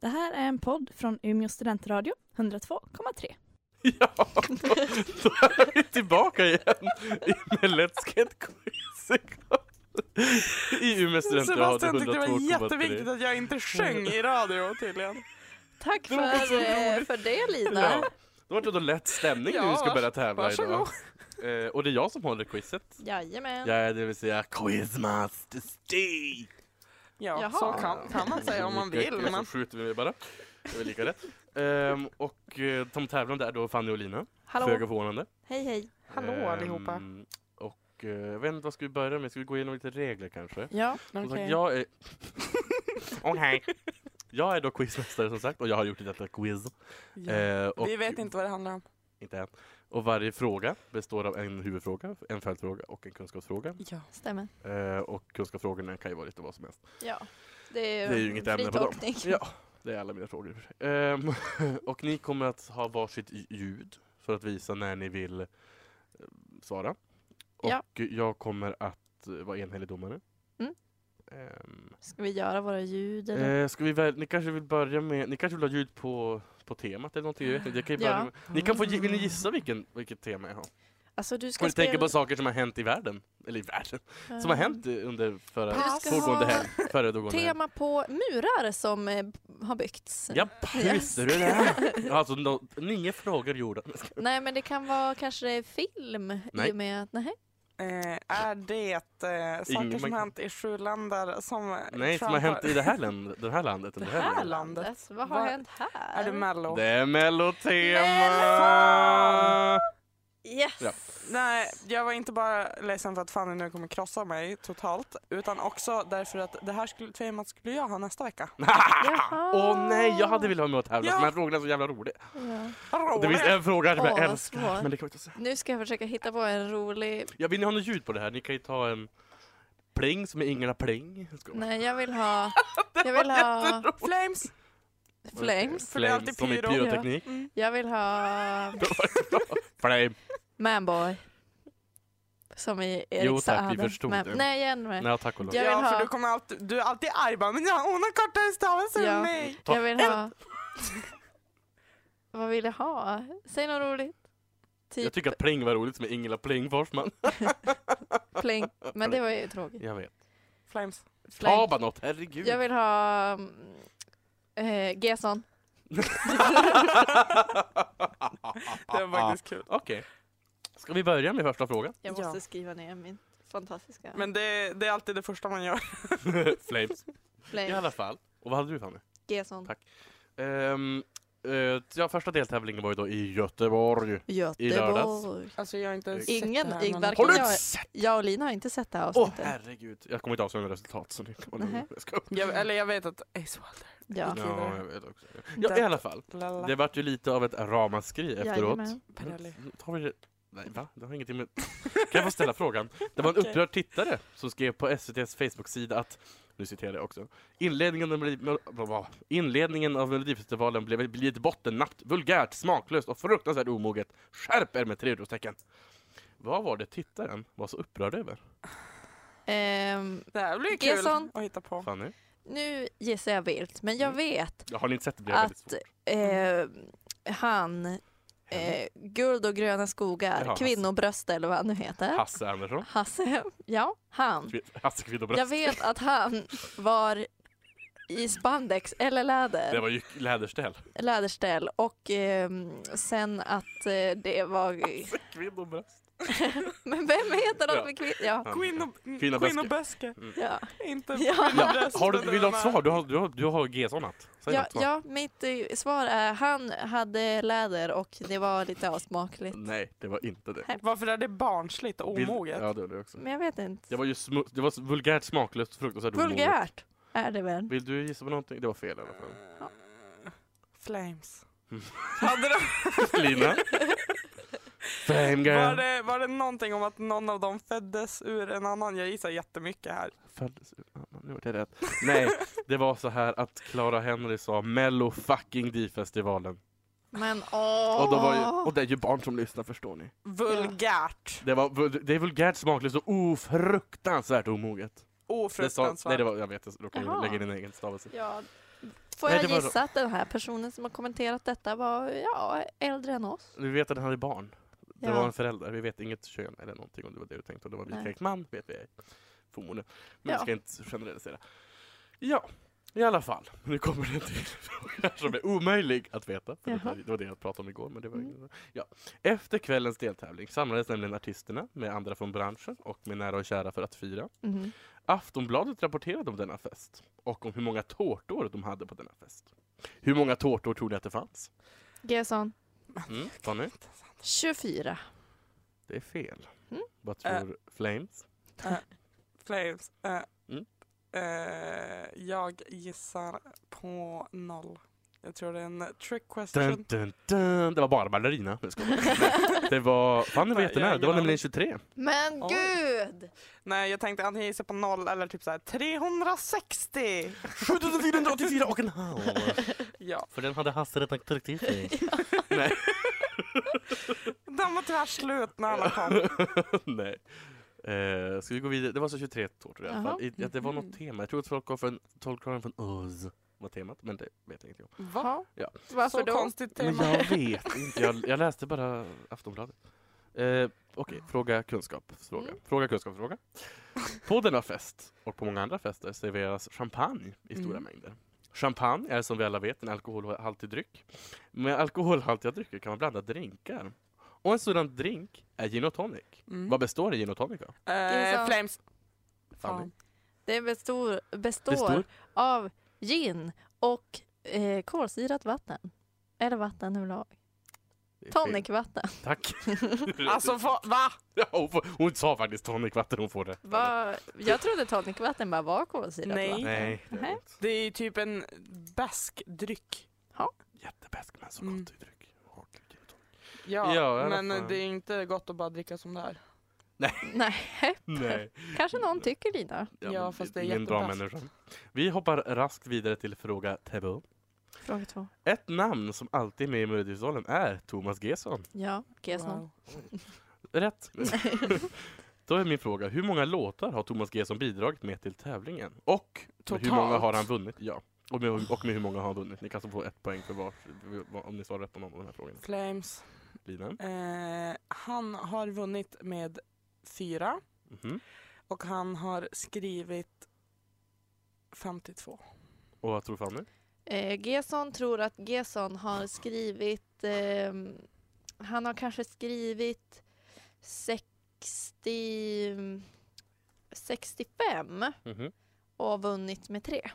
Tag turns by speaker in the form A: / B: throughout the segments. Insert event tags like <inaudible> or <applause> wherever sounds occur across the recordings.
A: Det här är en podd från Umeå studentradio, 102,3.
B: <laughs> Ja, då, då är vi tillbaka igen i- med Let's Get Quiz i Umeå studentradio
C: Sebastian tyckte det var
B: 102,3.
C: jätteviktigt att jag inte sjöng i radio tydligen.
D: Tack
B: Det var så
D: för, eh, för det Lina.
B: Ja, det var då lätt stämning nu
C: Ja,
B: vi ska
C: vars-
B: börja tävla idag.
C: varsågod.
B: Eh, och det är jag som håller quizet.
D: Jajamän.
B: Ja, det vill säga Quizmaster Steve.
C: Ja,
D: Jaha.
C: så kan, kan man säga om man
B: Lika-
C: vill. Men
B: Så skjuter vi bara. Det är väl lika rätt. Ehm, och eh, de tävlande är då Fanny och Lina. Föga
D: Hallå.
B: förvånande.
D: Hej hej.
C: hallå
B: Ehm,
C: allihopa.
B: Och eh, jag vet inte vad ska vi börja med? Ska vi gå igenom lite regler kanske?
D: Ja.
B: Som sagt,
C: Okej.
B: jag
C: <laughs>
B: är... Okej. Jag är då quizmästare som sagt och jag har gjort detta quiz.
C: Ja.
B: Eh, och
C: Vi vet inte vad det handlar om.
B: Inte än. Och varje fråga består av en huvudfråga, en följdfråga och en kunskapsfråga.
C: Ja.
D: Stämmer.
B: Eh, och kunskapsfrågorna kan ju vara lite vad som helst.
D: Ja. Det är,
B: Det är ju inget ämne på dem.
D: fritolkning.
B: Ja, det är alla mina frågor. i och för sig. Ehm, <laughs> och ni kommer att ha varsitt ljud för att visa när ni vill eh, svara. Och
D: Ja.
B: jag kommer att eh, vara enhällig domare.
D: Mm.
B: Ehm,
D: Ska vi göra våra ljud eller?
B: Eh, ska vi väl, ni kanske vill börja med, ni kanske vill ha ljud på, på temat eller någonting? Jag vet inte. Jag kan ju
D: Ja.
B: börja med, ni kan få, gi- vill ni gissa vilken, vilket tema jag har?
D: Alltså du ska
B: Och ni tänker på
D: spela...
B: saker som har hänt i världen, eller i världen, som har hänt eh, under förra,
D: Du ska
B: pågående
D: ha
B: helg, föregående helg.
D: Ehm. Tema på murar som eh, har byggts.
B: Japp,
D: Yes.
B: visste
D: <laughs>
B: du det? Alltså, no, nio frågor gjorda.
D: Nej men det kan vara kanske film i
B: Nej.
D: och med att, nej.
C: Eh, är det eh, saker
B: Ingen-
C: som har hänt i sju länder som... eh,
B: Nej, som har hänt i det här, land, det här landet. Det
C: Det här
B: här
C: landet?
D: Vad har
C: Vad-
D: hänt här?
C: <laughs> Är du mello?
B: det är mellotema!
C: Mellan-
D: Yes!
B: Ja.
C: Nej, jag var inte bara ledsen för att Fanny nu kommer krossa mig totalt, utan också därför att det här skulle, temat skulle jag ha nästa vecka.
D: Jaha.
B: <laughs> Åh nej, jag hade velat vara med och tävla,
C: Ja.
B: de här frågorna är så jävla roliga.
D: Ja.
B: Det finns en fråga som
D: Åh,
B: jag
D: vad
B: älskar,
D: svårt.
B: men det kan jag inte säga.
D: Nu ska jag försöka hitta på en rolig...
B: Ja, vill ni ha något ljud på det här? Ni kan ju ta en pling som är Ingela Pling. Jag skojar.
D: Nej, jag vill ha... Jag vill
C: <laughs>
D: ha
C: Flames!
D: flames.
C: för det är alltid
B: som i
C: pyro.
B: pyroteknik.
C: Mm.
D: Jag vill ha
B: <laughs>
C: <laughs>
B: Flame.
D: manboy. Som i Erik
B: Jo, tack, vi
D: Saade.
B: förstod
D: Man-
B: det.
D: Nej, igen med.
B: Nej, tack och lov.
D: Jag
C: ja,
D: vill ha-
C: för du kommer alltid, du är alltid arg bara, men hon har kortare stavelse
D: Ja.
C: än mig.
B: Ta-
D: Jag vill ha... Vad vill jag ha? Säg något roligt.
B: Jag
D: Typ
B: tycker att Pling var roligt som är Ingela Pling Forsman.
D: pling. Men det var ju tråkigt.
B: Jag vet.
C: Flames.
B: Ta
D: Flank.
B: bara något, herregud.
D: Jag vill ha... mm, Eh, Gesson.
C: Det
B: Ah,
C: var faktiskt kul.
B: <laughs> Okej. Ska vi börja med första
C: <laughs>
B: frågan?
D: Jag
C: Ja.
D: måste skriva ner min fantastiska
C: Men det, det är alltid det första man gör.
B: Flames. I
D: flame.
B: alla fall. Och vad hade du Fanny?
D: Gesson.
B: Tack. Um, ja, första deltävlingen var ju då i Göteborg.
D: Göteborg.
C: Alltså jag har inte
B: Ingen-
D: Ingen,
C: sett det här, men...
D: varken
B: du
D: jag,
B: inte sett?
D: jag och Lina har inte sett det här
B: Åh
D: avsnittet.
B: herregud. Jag kommer inte avslöja några resultat så ni kan vara lugna.
D: Nähä.
B: Jag skojar.
C: jag, Eller jag vet att Ace Wilder...
D: ja.
B: Ja, jag vet också. Ja, i alla fall.
C: Lala.
B: Det vart ju lite av ett ramaskri efteråt.
D: Jajamän.
C: Pirelli.
B: Nu Tar vi det. Nej, va? Det har
D: <laughs>
B: ingenting med... Kan jag få ställa frågan? Det var en
C: Okej.
B: upprörd tittare som skrev på SVTs Facebook-sida att, nu citerar jag också, inledningen av, Melodi- bla, bla, inledningen av Melodifestivalen blev blir ett bottennapp, vulgärt, smaklöst och fruktansvärt omoget. Skärp er med tre utropstecken! Vad var det tittaren var så upprörd över?
D: Ehm,
C: Det här blir kul
D: Gesson.
C: att hitta på.
B: Fanny?
D: nu gissar jag vilt, men jag
B: Mm.
D: vet
B: Ja, Har ni inte sett det blir det väldigt
D: att
B: svårt.
D: ehm, han,
B: Henne?
D: eh, Guld och gröna skogar,
B: Jaha, Hasse.
D: Kvinnobröst eller vad han nu heter.
B: Hasse Andersson?
D: Hasse. <laughs> Ja, han.
B: Kvin- Hasse Kvinnobröst?
D: Jag vet att han var i spandex eller
B: Det
D: läder,
B: var ju läderställ.
D: läderställ och ehm, sen att eh, det var...
B: Kvinnobröst.
D: Men vem heter
B: Ja.
D: något med kvinna? Ja.
C: Queen och,
B: Queen
C: Queen
B: of
C: och Böske.
D: ja.
B: <laughs>
C: Inte
D: Ja.
C: Queen of
B: Ja,
C: Böske,
B: har du,
C: men
B: vill du ha ett
C: den här-
B: svar? Du har, du har, du har G-sonat. Säg
D: Ja,
B: något svar.
D: ja, mitt eh, svar är han hade läder och det var lite avsmakligt.
B: Nej, det var inte det.
C: Varför är det barnsligt och
B: Vill-
C: omoget?
B: Ja, det var det också.
D: Men jag vet inte.
B: Det var ju smu- det var s- vulgärt, smaklöst, fruktansvärt omoget.
D: Vulgärt är det väl?
B: Vill du gissa på någonting? Det var fel i alla
D: <laughs>
B: fall.
D: Ja.
C: Flames.
B: Mm.
C: <laughs> Hade de,
B: Lina? Fame
C: var,
B: girl!
C: det, var det någonting om att någon av dem föddes ur en annan? Jag gissar jättemycket här.
B: Föddes ur- ah, Nu vart jag rätt. Nej, det var så här att Clara Henry sa Mello fucking D-festivalen.
D: Men åh!
B: Och, då var ju, och det är ju barn som lyssnar förstår ni.
C: Vulgärt.
B: Det, var, vul- det är vulgärt, smaklöst och ofruktansvärt omoget. Det sa,
C: Ofruktansvärt.
B: nej, det var, jag vet, jag råkade
D: Jaha.
B: lägga in en egen stavelse.
D: Ja, Får
B: Nej,
D: jag
B: det var-
D: gissa att den här personen som har kommenterat detta var ja, äldre än oss?
B: Vi vet att han hade barn. Det
D: Ja.
B: var en förälder. Vi vet inget kön eller någonting om det var det du tänkte. Om det var
D: Nej.
B: vitklädd man vet vi ej. Förmodligen. Men
D: Ja.
B: vi ska inte generalisera. Ja, i alla fall. Nu kommer det en till <laughs> fråga som är omöjlig att veta. För det
D: Jaha.
B: var- det var det jag pratade om igår. Men det var...
D: Mm.
B: ja. Efter kvällens deltävling samlades nämligen artisterna med andra från branschen och med nära och kära för att fira.
D: Mhm.
B: Aftonbladet rapporterade om denna fest och om hur många tårtor de hade på denna fest. Hur många tårtor tror ni att det fanns?
D: Gesson,
B: Mm, Fanny?
D: 24.
B: Det är fel.
D: Mm.
B: Vad tror Flames?
C: Flames. eh,
B: Mm.
C: eh, jag gissar på noll. Jag tror det är en trick question.
B: Dun, dun, dun. Det var bara <laughs> ballerina. Jag skojar. Nej, Det var... Fanny var
C: Nej, jag har
B: jättenära. Det
C: ingen
B: var
C: aning.
B: nämligen 23.
D: Men
C: Oj.
D: gud!
C: Nej, jag tänkte antingen gissa på noll eller typ så här 360.
B: 7484 och en halv.
C: <laughs> Ja,
B: <laughs> För den hade Hasse redan tryckt i sig. Nej.
C: den var tyvärr slut när alla kom.
B: <laughs> Nej. Eh, ska vi gå vidare? Det var så 23 tårtor i alla fall.
D: Jaha.
B: I, att det var
C: Mhm.
B: något tema. Jag tror att folk gav för en tolkaren från Oz var temat, men det vet jag inte om.
C: Va?
D: Varför
C: Så
D: då?
C: konstigt
B: Men
C: tema.
B: jag vet inte. Jag, jag läste bara Aftonbladet. Eh, Okej, fråga kunskapsfråga.
D: Mm.
B: Fråga kunskapsfråga. På denna fest och på många andra fester serveras champagne i stora
D: Mm.
B: mängder. Champagne är som vi alla vet en alkoholhaltig dryck. Med alkoholhaltiga drycker kan man blanda drinkar. Och en sådan drink är gin och tonic.
C: Mm.
B: Vad består en gin och tonic av?
C: Eh,
D: Gissa.
C: flames.
B: Fanny?
D: Det består, består
B: Består?
D: av gin och eh, kolsyrat vatten. Eller vatten överlag.
B: Det är fel.
D: Tonicvatten.
B: Tack. <laughs>
C: Alltså, va? va?
B: Ja, hon, får, hon sa faktiskt tonicvatten, hon får det.
D: Var, jag trodde tonicvatten bara var kolsyrat
C: Nej.
D: vatten.
B: Nej, det
D: Nej.
B: är det inte.
C: Det är ju typ en bäsk dryck.
B: Jättebäsk men så
C: Mm.
B: gott i dryck. Åh, gud, gin och tonic.
C: Ja,
B: Ja, i alla
C: men
B: fall.
C: det är inte gott att bara dricka som det här.
D: Nej.
B: Nej.
D: Kanske någon tycker Lina.
C: <laughs> Ja,
B: men
C: fast det är
B: ingen bra
C: jättebäst.
B: människa. Vi hoppar raskt vidare till fråga Tebo.
D: Fråga två.
B: Ett namn som alltid är med i Melodifestivalen är Thomas Gesson.
D: Ja, Gesson.
C: Wow. <laughs>
B: Rätt. <laughs> Då är min fråga, hur många låtar har Thomas Gesson bidragit med till tävlingen? Och
C: Totalt.
B: hur många har han vunnit? Ja. Och med, och med hur många har han vunnit? Ni kan alltså få ett poäng för var, om ni svarar rätt på någon av de här frågorna.
C: Flames.
B: Lina?
C: Eh, han har vunnit med fyra
B: Mhm.
C: och han har skrivit 52.
B: Och vad tror Fanny?
D: Eh, Gesson tror att Gesson har skrivit... Eh, han har kanske skrivit 60, 65
B: Mhm.
D: och vunnit med tre.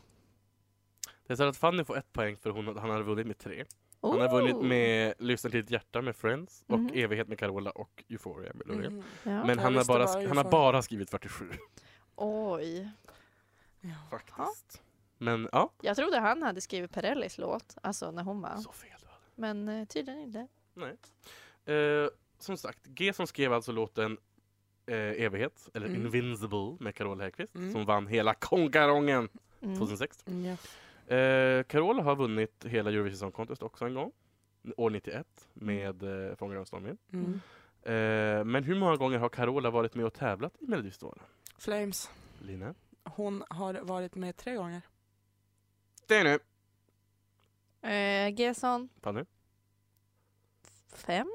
B: Det är så att Fanny får ett poäng för hon, han hade vunnit med tre. Han har vunnit med Lyssna till ditt hjärta med Friends och
D: Mhm.
B: Evighet med Carola och Euphoria med Loreen.
C: Mhm.
D: Ja.
B: Men
C: Jag
B: han har,
C: visste
B: bara,
C: bara
B: sk- han
C: Euphoria.
B: har bara skrivit 47
D: Oj.
C: Ja.
B: faktiskt. Men ja,
D: Jag trodde han hade skrivit Perellis låt, alltså när hon var.
B: så fel du hade.
D: Men eh, tydligen inte.
B: Nej. Eh, som sagt, G som skrev alltså låten eh, Evighet, eller
C: Mm.
B: Invincible med Carola Häggkvist,
C: Mm.
B: som vann hela Konkarongen
D: Mm.
B: 2006.
C: Mm, ja.
B: Eh, Carola har vunnit hela Eurovision Song Contest också en gång, år 91, med eh, Fångar av stormen.
C: Mm.
B: Eh, men hur många gånger har Carola varit med och tävlat i Melodifestivalen?
C: Flames.
B: Lina?
C: Hon har varit med tre gånger.
B: Det är nu!
D: Eh, Gesson,
B: Fanny?
D: fem?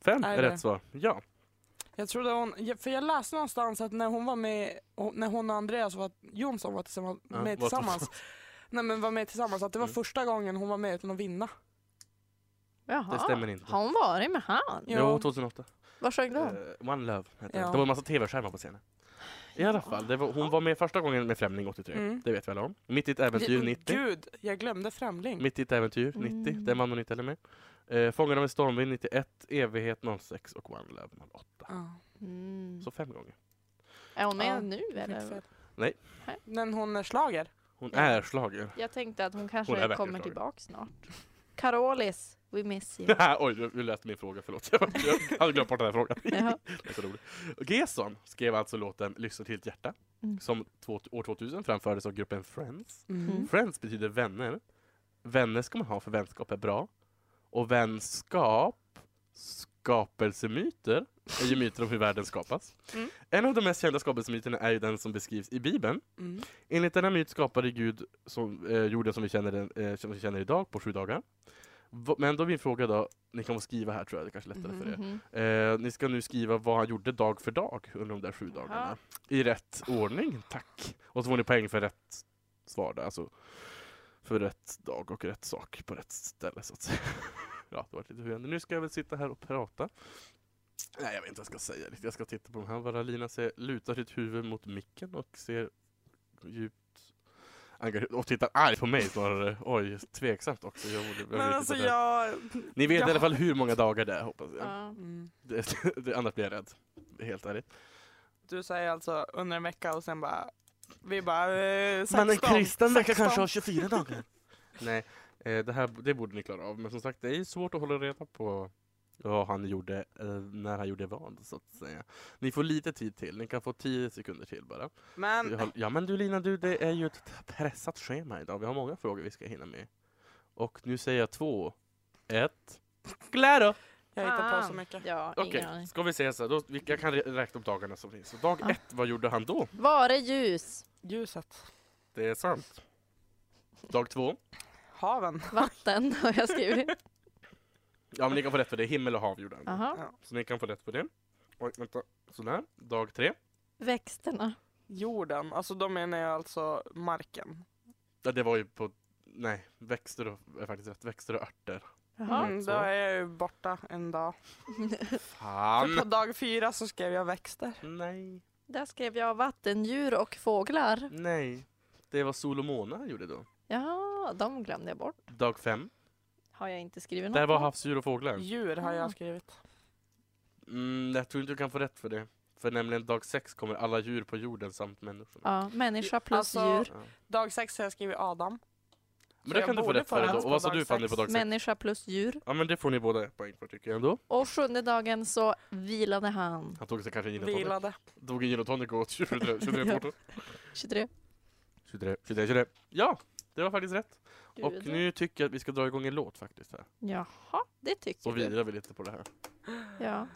B: Fem
C: Är
B: är,
C: det?
B: rätt svar. Ja.
C: Jag trodde hon, ja, för jag läste någonstans att när hon var med, och- när hon och Andreas var, Jonsson var tillsammans,
B: Ja,
C: med
B: vad-
C: tillsammans, nej men var med tillsammans, att det var
B: Mm.
C: första gången hon var med utan att vinna.
D: Jaha.
B: Det stämmer inte.
D: Har hon varit med han?
C: Ah. Ja.
B: Jo, 2008.
D: Vad sjöng de?
B: Eh, One Love heter
C: Ja.
B: den. Det var en massa tv-skärmar på scenen. I alla fall, det var, hon var med första gången med Främling 83.
C: Mm.
B: Det vet vi alla om. Mitt i ett äventyr
C: Ge-
B: 90.
C: Gud, jag glömde Främling.
B: Mitt i ett äventyr 90.
D: Mm.
B: Den vann hon inte heller med. Eh, Fångad av en stormvind 91, Evighet 06 och One Love 08.
C: Ja,
D: Mm.
B: Så fem gånger.
D: Är hon med
C: Ja,
D: nu
C: fick
D: eller?
C: fel.
B: Nej.
C: Men hon är slager.
B: Hon
D: Ja.
B: är slager.
D: Jag tänkte att hon
B: Hon är
D: kanske
B: verkligen
D: kommer
B: slagen.
D: tillbaka snart. Carolis, we miss <laughs> you.
B: <laughs> Oj, du- du läste min fråga. Förlåt. Jag hade glömt bort den här frågan.
D: Ja.
B: <laughs> Det är så roligt. Gesson skrev alltså låten Lyssna till ett hjärta
D: Mm.
B: som två, år 2000 framfördes av gruppen Friends.
D: Mm.
B: Friends betyder vänner. Vänner ska man ha för vänskap är bra. Och vänskap ska skapelsemyter är ju myter om hur världen skapas.
C: Mm.
B: En av de mest kända skapelsemyterna är ju den som beskrivs i Bibeln.
C: Mm.
B: Enligt denna myt skapade Gud som, eh, jorden som vi, känner den, eh, som vi känner idag på sju dagar. Va- Men då är min fråga då, ni kan få skriva här tror jag, det är kanske är lättare för er.
D: Mhm.
B: Eh, ni ska nu skriva vad han gjorde dag för dag under de där sju dagarna. I rätt ordning, tack. Och så får ni poäng för rätt svar där, alltså för rätt dag och rätt sak på rätt ställe så att säga. <laughs> ja, det var lite förvirrande. Nu ska jag väl sitta här och prata. Nej, jag vet inte vad jag ska säga riktigt. Jag ska titta på de här. Bara Lina ser, lutar sitt huvud mot micken och ser djupt engagerad och tittar arg på mig snarare. Oj, tveksamt också. Jag borde, jag vet
C: Men
B: inte
C: alltså
B: vad det är.
C: jag...
B: Ni vet
C: jag-
B: i alla fall hur många dagar det är hoppas jag.
D: Ja.
C: Mm.
B: Det, det, <laughs> annars blir jag rädd. Helt ärligt.
C: Du säger alltså under en vecka och sen bara... Vi bara... Eh, 16,
B: ha 24 dagar. <laughs> Nej, eh, det, här, det borde ni klara av. Men som sagt, det är ju svårt att hålla reda på vad han gjorde, eh, när han gjorde vad, så att säga. Ni får lite tid till. Ni kan få 10 sekunder till bara. Vi
C: Men
B: har- Ja, men du Lina, du, det är ju ett pressat schema idag. Vi har många frågor vi ska hinna med. Och nu säger jag två, ett, claro!
C: jag hittar på så
D: Fan.
C: mycket.
D: Ja, ingen
B: Okej,
D: aning.
B: ska vi säga så här. Då, vi- jag kan re- räkna upp dagarna som finns. Så dag
D: Ja.
B: ett, vad gjorde han då?
D: Vare ljus,
C: Ljuset.
B: Det är sant. Dag två.
C: Haven.
D: vatten <laughs> har jag skrivit.
B: Ja men ni kan få rätt för det, himmel och hav gjorde han.
D: Aha.
B: Så ni kan få rätt för det. Oj, vänta. Sådär. Dag tre.
D: Växterna.
C: Jorden. Alltså då menar jag alltså marken.
B: Ja, det var ju på... Nej, växter och... är faktiskt rätt. Växter och örter.
D: Jaha.
C: Mm,
B: så.
C: då är jag ju borta en dag.
B: Fan!
C: För på dag fyra så skrev jag växter.
B: Nej,
D: Där skrev jag vattendjur och fåglar.
B: nej. Det var sol och måne han gjorde då.
D: Ja, de glömde jag bort.
B: Dag fem.
D: Har jag inte skrivit något?
B: Där var
D: på.
B: havsdjur och fåglar.
C: Djur har
D: Ja.
C: jag skrivit.
B: Mm, jag tror inte du kan få rätt för det. För nämligen dag sex kommer alla djur på jorden samt människorna.
D: Ja, människa plus
C: Alltså,
D: djur.
B: Ja.
C: Dag sex har jag skrivit Adam.
B: Men
C: Så
B: det
C: jag
B: kan du få
C: borde
B: rätt
C: få
B: för
C: rätt
B: ändå.
C: på
B: Och vad sa
C: dag
B: du Fanny
C: sex.
B: på dag sex?
D: Människa plus djur.
B: Ja men det får ni båda poäng för tycker jag ändå.
D: Och sjunde dagen så vilade han.
B: Han tog sig kanske en gin och tonic.
C: Vilade.
B: Tog en gin och tonic och åt
C: <laughs>
B: 23 23
D: Ja.
B: tårtor.
D: 23.
B: 23, 23, 23. Ja, det var faktiskt rätt. Och
D: Gud.
B: nu tycker jag att vi ska dra igång en låt faktiskt. här.
D: Jaha, det tycker
B: Så
D: du.
B: vilar vi lite på det här.
D: Ja.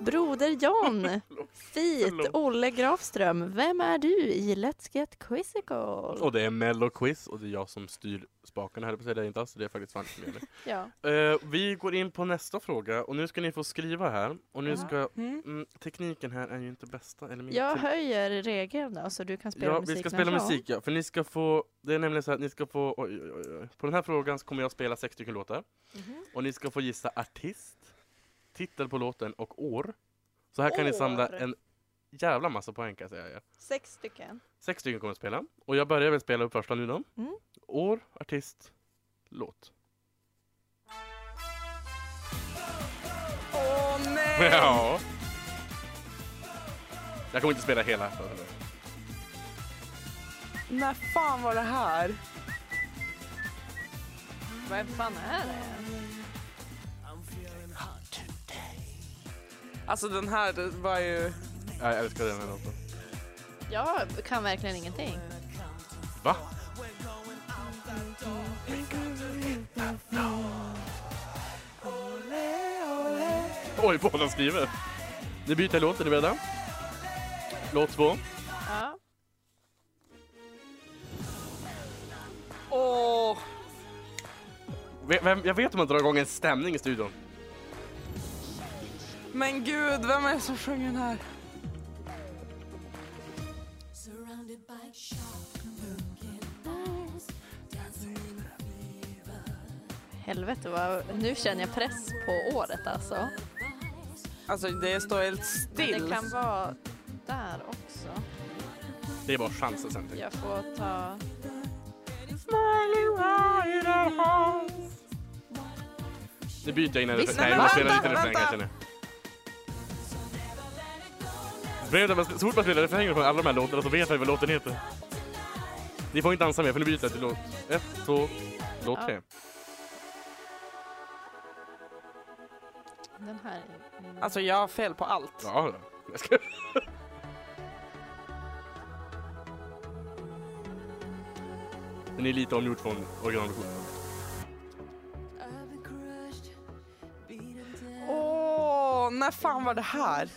D: Broder John, Fit,
B: <laughs> Förlåt.
D: Olle Grafström, vem är du i Let's Get Quizzical?
B: Och det är melloquiz och det är jag som styr spakarna här på att säga. Det är inte alls, det är faktiskt Fanny som gör det.
D: Ja.
B: Eh, vi går in på nästa fråga och nu ska ni få skriva här. Och nu
D: Ja.
B: ska...
C: Mm.
B: Mm, tekniken här är ju inte bästa. Eller min
D: Jag
B: te-
D: höjer regeln då, så du kan spela
B: Ja,
D: musik
B: vi ska
D: när
B: spela
D: jag-
B: musik ja. För ni ska få... Det är nämligen så att ni ska få... Oj, oj, oj, oj. På den här frågan så kommer jag spela sex stycken låtar.
D: Mhm.
B: Och ni ska få gissa artist, titel på låten och år. Så här kan ni samla
D: År.
B: en jävla massa poäng kan jag säga er.
D: Sex stycken.
B: Sex stycken kommer att spela. Och jag börjar väl spela upp första nu då.
D: Mm.
B: År, artist, låt.
C: Åh nej!
B: <laughs> Ja. Jag kommer inte spela hela.
C: När fan var det här?
D: Vem fan är det?
C: Alltså den här det var ju...
B: Jag älskar den här låten.
D: Jag kan verkligen ingenting.
B: Va? Oj, båda skriver. Ni byter låt, är ni beredda? Låt två.
D: Ja.
C: Åh!
B: Ve- Vem, jag vet om man drar igång en stämning i studion.
C: Men gud, vem är det som sjunger den här?
E: Surrounded by sharp and broken eyes, dancing in a fever
D: Helvete, vad... nu känner jag press på året alltså.
E: vice.
C: Alltså det står helt still.
D: Det kan vara där också.
B: Det är bara chansen sen. tänker
D: Jag får ta...
B: jag. Nu byter jag innan
D: Visst,
B: Nej,
C: men
B: vi måste spela
C: vänta,
B: lite refräng här
C: vänta.
B: känner jag. Problemet är att man- Så fort man spelar refrängen på alla de här låtarna så vet man ju vad låten heter. Ni får inte dansa mer för nu byter jag till låt ett, två, låt
D: Ja.
B: tre.
D: Den här är... mm.
C: Alltså jag har fel på allt.
B: Ja, ja. jag ska... <laughs> Den är lite omgjord från originalversionen.
E: I've been crushed, beaten down,
C: Oh. Åh, när fan var det här?
E: to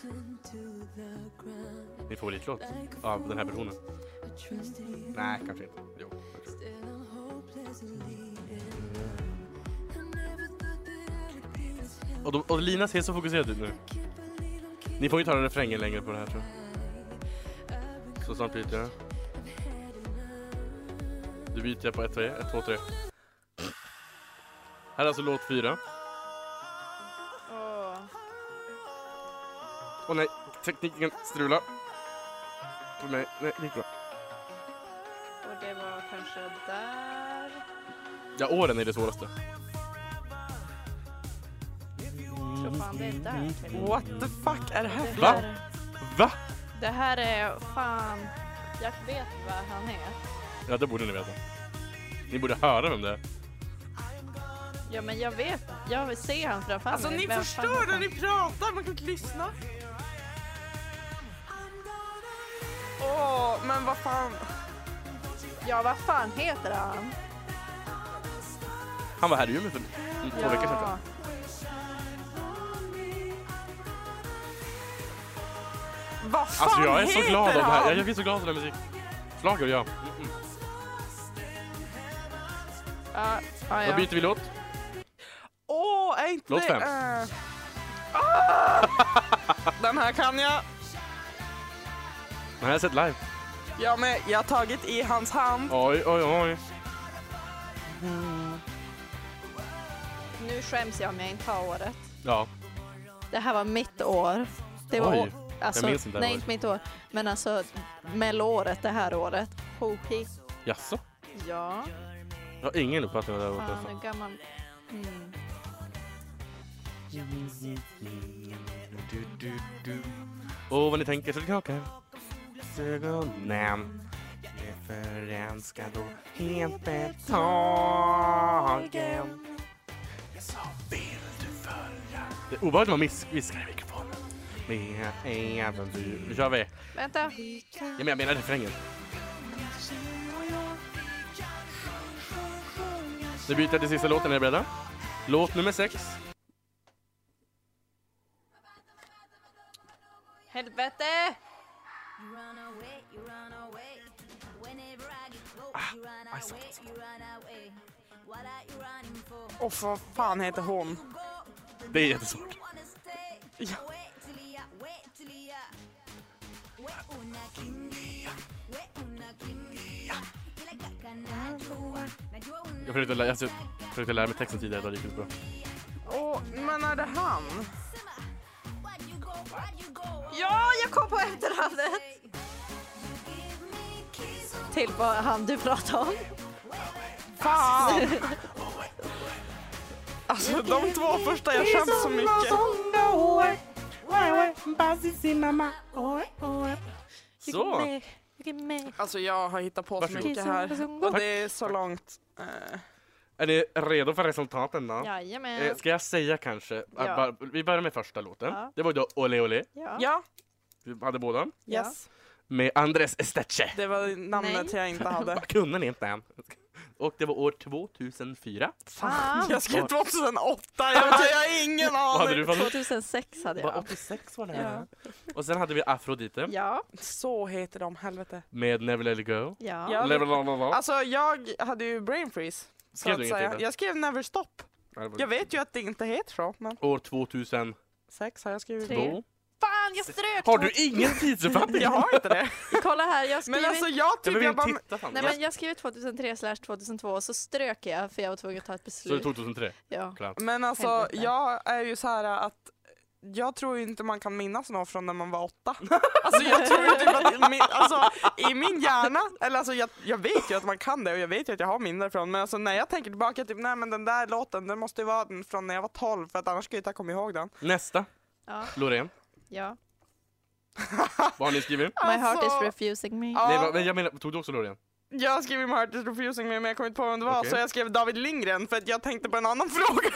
E: the ground.
B: Min favoritlåt
E: Like a
B: av den här versionen.
E: fool, I trusted you,
B: Nej, kanske inte. Jo, kanske.
E: still I'm hopelessly in love. I never thought that I would be this hell.
B: Och, de, och Lina ser så fokuserad ut nu.
E: Can't believe I'm
B: Ni får ju ta den refrängen längre på det här tror jag. Så snart byter jag. Du byter jag på 1, 3, 1, 2, 3. Här är alltså låt 4.
D: Åh.
B: Åh nej, tekniken strular. För mig, nej, det gick bra.
D: Och det var kanske där.
B: Ja, åren är det svåraste.
D: Jag tror fan det är där. till och med.
C: What the fuck är det här?
D: Det
B: Va?
D: här,
B: Va?
D: det här är fan... Jag vet vad han är.
B: Ja, det borde ni veta. Ni borde höra vem det är.
D: Ja men jag vet. Jag vill se han framför
C: Alltså
D: mig.
C: ni
D: Vem fan
C: förstör
D: är
C: när
D: han?
C: ni pratar, man kan inte lyssna. Åh, men vad fan.
D: Ja vad fan heter han?
B: Han var här i Umeå för en- två veckor sedan. tror jag.
C: Vad fan
B: Alltså jag är så
C: heter
B: glad av det här.
C: han?
B: Jag, jag blir så glad av den här musiken. Schlager, ja. Mm-mm.
D: Ja, ja,
B: Då
D: ja.
B: byter vi låt.
C: Åh, är inte
B: Låt
C: det...
B: fem.
C: eh, ah! Den här kan jag.
B: Den här har jag sett live.
C: Jag med. Jag har tagit i hans hand.
B: Oj, oj, oj.
D: Nu skäms jag om jag inte har året.
B: Ja,
D: Det här var mitt år. Det var
B: Oj,
D: alltså,
B: minns inte det
D: Nej,
B: här året.
D: inte mitt år. Men alltså, melloåret det här året. Hopi.
B: jaså?
D: Ja,
B: Jag har ingen uppfattning om det här var.
D: fan
B: alltså.
D: hur gammal... Mm.
B: Mm. Du, du, du. Och vad ni tänker så det knakar. Ögonen. Referens ska då helt betagen. Jag sa vill du följa? Det är obehagligt när man miss- viskar i mikrofonen. Med äventyr. Nu kör vi.
D: Vänta.
B: Ja, men jag menar refrängen. Nu byter jag till sista låten. Är ni beredda? Låt nummer sex.
D: Helvete!
E: You run away, you run away. Whenever I get close, you run away, you run away. What are you running for?
C: Och vad fan heter hon?
B: Det är jättesvårt.
E: Wanna stay?
C: Ja.
E: Wait till ya, wait till ya. We una kimbia, we una kimbia. Kila kaka najua, najua una
B: Jag försökte, lä- jag försökte lära mig texten tidigare idag. Det gick inte bra.
C: Åh, men är det han?
E: sema. Why'd you go, why'd you go?
D: Ja, jag kom på efterhandet!
E: Give me kiss,
D: Till vad han du pratade om.
C: Fan! Alltså de två första, jag skäms så mycket.
E: Oh, oh.
B: Så!
C: Alltså jag har hittat på så
B: Varsågod.
C: mycket här. Och det är så långt. eh,
B: Är ni redo för resultaten då? Eh,
D: Jajamän.
B: ska jag säga kanske? att
D: Ja.
B: bara- Vi börjar med första låten.
D: Ja.
B: Det var ju då Ole Ole.
D: Ja.
C: Ja,
B: Vi hade båda.
C: yes.
B: Med Andres Esteche.
C: Det var namnet
D: Nej.
C: jag inte <laughs> hade.
B: Vad kunde ni inte än? Och det var år 2004.
D: Fan.
C: Jag skrev 2008, jag, vet- jag har ingen
B: Vad hade
C: aning.
B: du för låt?
D: 2006 hade
B: Bara
D: jag.
B: 86 var det.
D: Ja.
B: Och sen hade vi Afrodite
D: Ja.
C: Så heter de, helvete.
B: med Never Let It Go.
D: Ja.
C: Ja.
B: Never Let It Go.
C: Alltså jag hade ju brain freeze. Så
B: Skrev
C: att
B: du ingenting?
C: säga.
B: där?
C: Jag skrev never stop.
B: Nej, det var-
C: Jag vet ju att det inte heter så, men
B: År 2002.
C: sex har jag skrivit. <laughs>
D: Tre. Fan, jag strök!
B: Har du ingen tidsuppfattning?
C: Jag har inte det.
D: Kolla här, jag har skrivit...
C: Men alltså jag
B: Jag
C: typ,
B: vill
C: jag bara,
B: inte titta fan.
D: Nej men jag skrev 2003 slash 2002 och så strök jag för jag var tvungen att ta ett
B: Så det
C: Mm.
D: beslut.
B: är
D: Ja.
B: 2003?
C: men alltså
D: Helvete.
C: jag är ju så här att jag tror ju inte man kan minnas något från när man var åtta. Alltså jag tror ju typ att i min, alltså, i min hjärna, eller alltså jag, jag vet ju att man kan det och jag vet ju att jag har minnen därifrån men alltså när jag tänker tillbaka typ nej men den där låten den måste ju vara den från när jag var 12 för att annars skulle jag inte ha kommit ihåg den.
B: Nästa,
D: Ja,
B: Loreen.
D: ja.
B: Vad har ni skrivit?
D: My heart is
C: Alltså,
D: refusing me.
C: ja.
B: Nej, vad- men jag menar, tog du också Loreen?
C: Jag skrev ju My Heart is Refusing Me men jag kom inte på vem det var
B: Okej.
C: så jag skrev David Lindgren för att jag tänkte på en annan <laughs> fråga.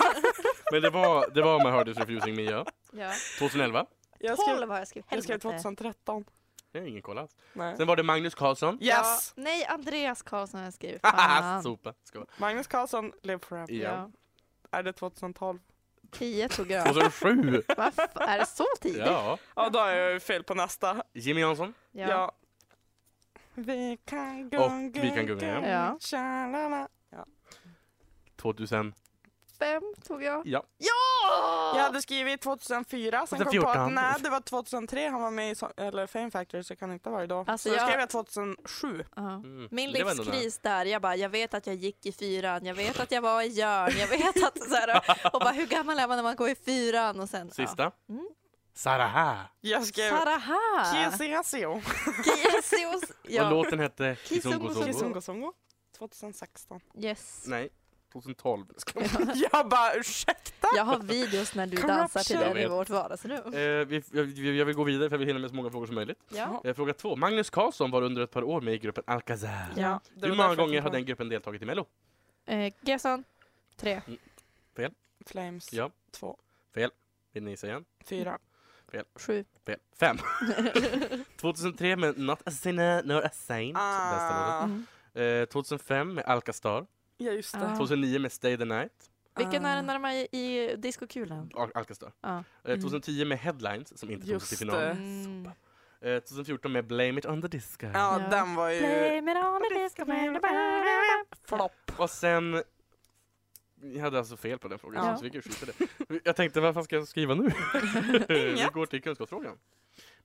B: Men det var, det var My Heart is Refusing Me, ja.
D: Ja.
B: 2011.
C: Jag skrev,
D: 12 har jag skrivit.
C: jag skrev
D: Helvete.
C: 2013.
B: Det är ingen koll alls.
C: Nej.
B: Sen var det Magnus Karlsson.
C: Yes!
D: Ja, nej, Andreas Karlsson har jag
C: <laughs>
D: skrivit.
B: Haha, <laughs>
D: Fan.
B: sopa. Ska vara.
C: Magnus Karlsson, Live Forever.
B: Ja.
D: ja.
C: Är det 2012?
D: 10 tog jag.
B: 2007.
D: Varför? Är det så tidigt?
B: Ja.
C: Ja då är jag ju fel på nästa.
B: Jimmy Jansson.
D: Ja.
C: Ja. Vi kan
B: Och vi kan gunga, ja.
D: Ja.
C: tjalala.
B: 2000.
D: Fem tog jag.
B: Ja.
D: Ja!
C: Jag hade skrivit 2004, sen kom jag
B: 2014.
C: på att nej, det var 2003 han var med i so- eller Fame Factory så kan det inte ha varit då.
D: Alltså,
C: så då
D: jag-
C: skrev jag 2007.
D: Ja.
B: Mm.
D: Min
B: Det var ändå nära.
D: livskris där, jag bara, jag vet att jag gick i fyran, jag vet att jag var i Jörn, jag vet att så här, och bara hur gammal är man när man går i fyran och sen
B: Sista.
D: Ja. Mm.
B: Saraha.
C: Jag skrev
D: Ja. Saraha! <laughs>
C: KCSO.
D: Kisios!
B: Och
D: Ja.
B: låten hette
D: Kizungo
B: Kizungo Zongo.
C: Kizungo Songo. 2016.
D: Yes.
B: Nej, 2012. Ska man-
C: <laughs> jag bara ursäkta?
D: Jag har videos när du
C: Corruption.
D: dansar till
B: Jag
D: den i
B: vet.
D: vårt vardagsrum.
B: Eh, vi, jag, jag vill gå vidare för jag vill hinna med så många frågor som möjligt.
D: Ja.
B: Eh, fråga två. Magnus Karlsson var under ett par år med i gruppen Alcazar.
D: Ja.
C: det var
B: Hur
C: därför
B: många
C: jag
B: gånger
C: kom
B: har
C: på
B: den gruppen deltagit i Mello?
D: Eh, Gerson, tre.
C: Flames.
B: Ja.
C: Två.
B: Vill ni säga en?
C: Fyra.
D: Sju.
B: Fel. Fem. <laughs> 2003 med Not a sinner nor a saint. Bästa
C: Ah.
D: Mm.
B: låten. Eh, 2005 med Alcastar.
C: Ja just det.
D: Ah.
B: 2009 med Stay the night.
D: Vilken är
C: Ah.
D: den närmare i, i diskokulan?
B: Al- Alcastar.
D: Ja.
B: Eh, 2010 med Headlines som inte tog sig till
C: Mm. Just
B: final.
C: det.
D: Mm.
B: Eh, 2014 med Blame it on the disco.
C: Ja,
D: Ja.
C: den var ju...
D: Blame it on
B: eh,
D: the disco, blame it on-
C: Flopp.
B: Och sen... Jag hade alltså fel på den frågan,
D: Ja.
B: så vi kan skita i det. Jag tänkte, vad fan ska jag skriva nu? vi
C: <laughs> Inget.
B: går till kunskapsfrågan.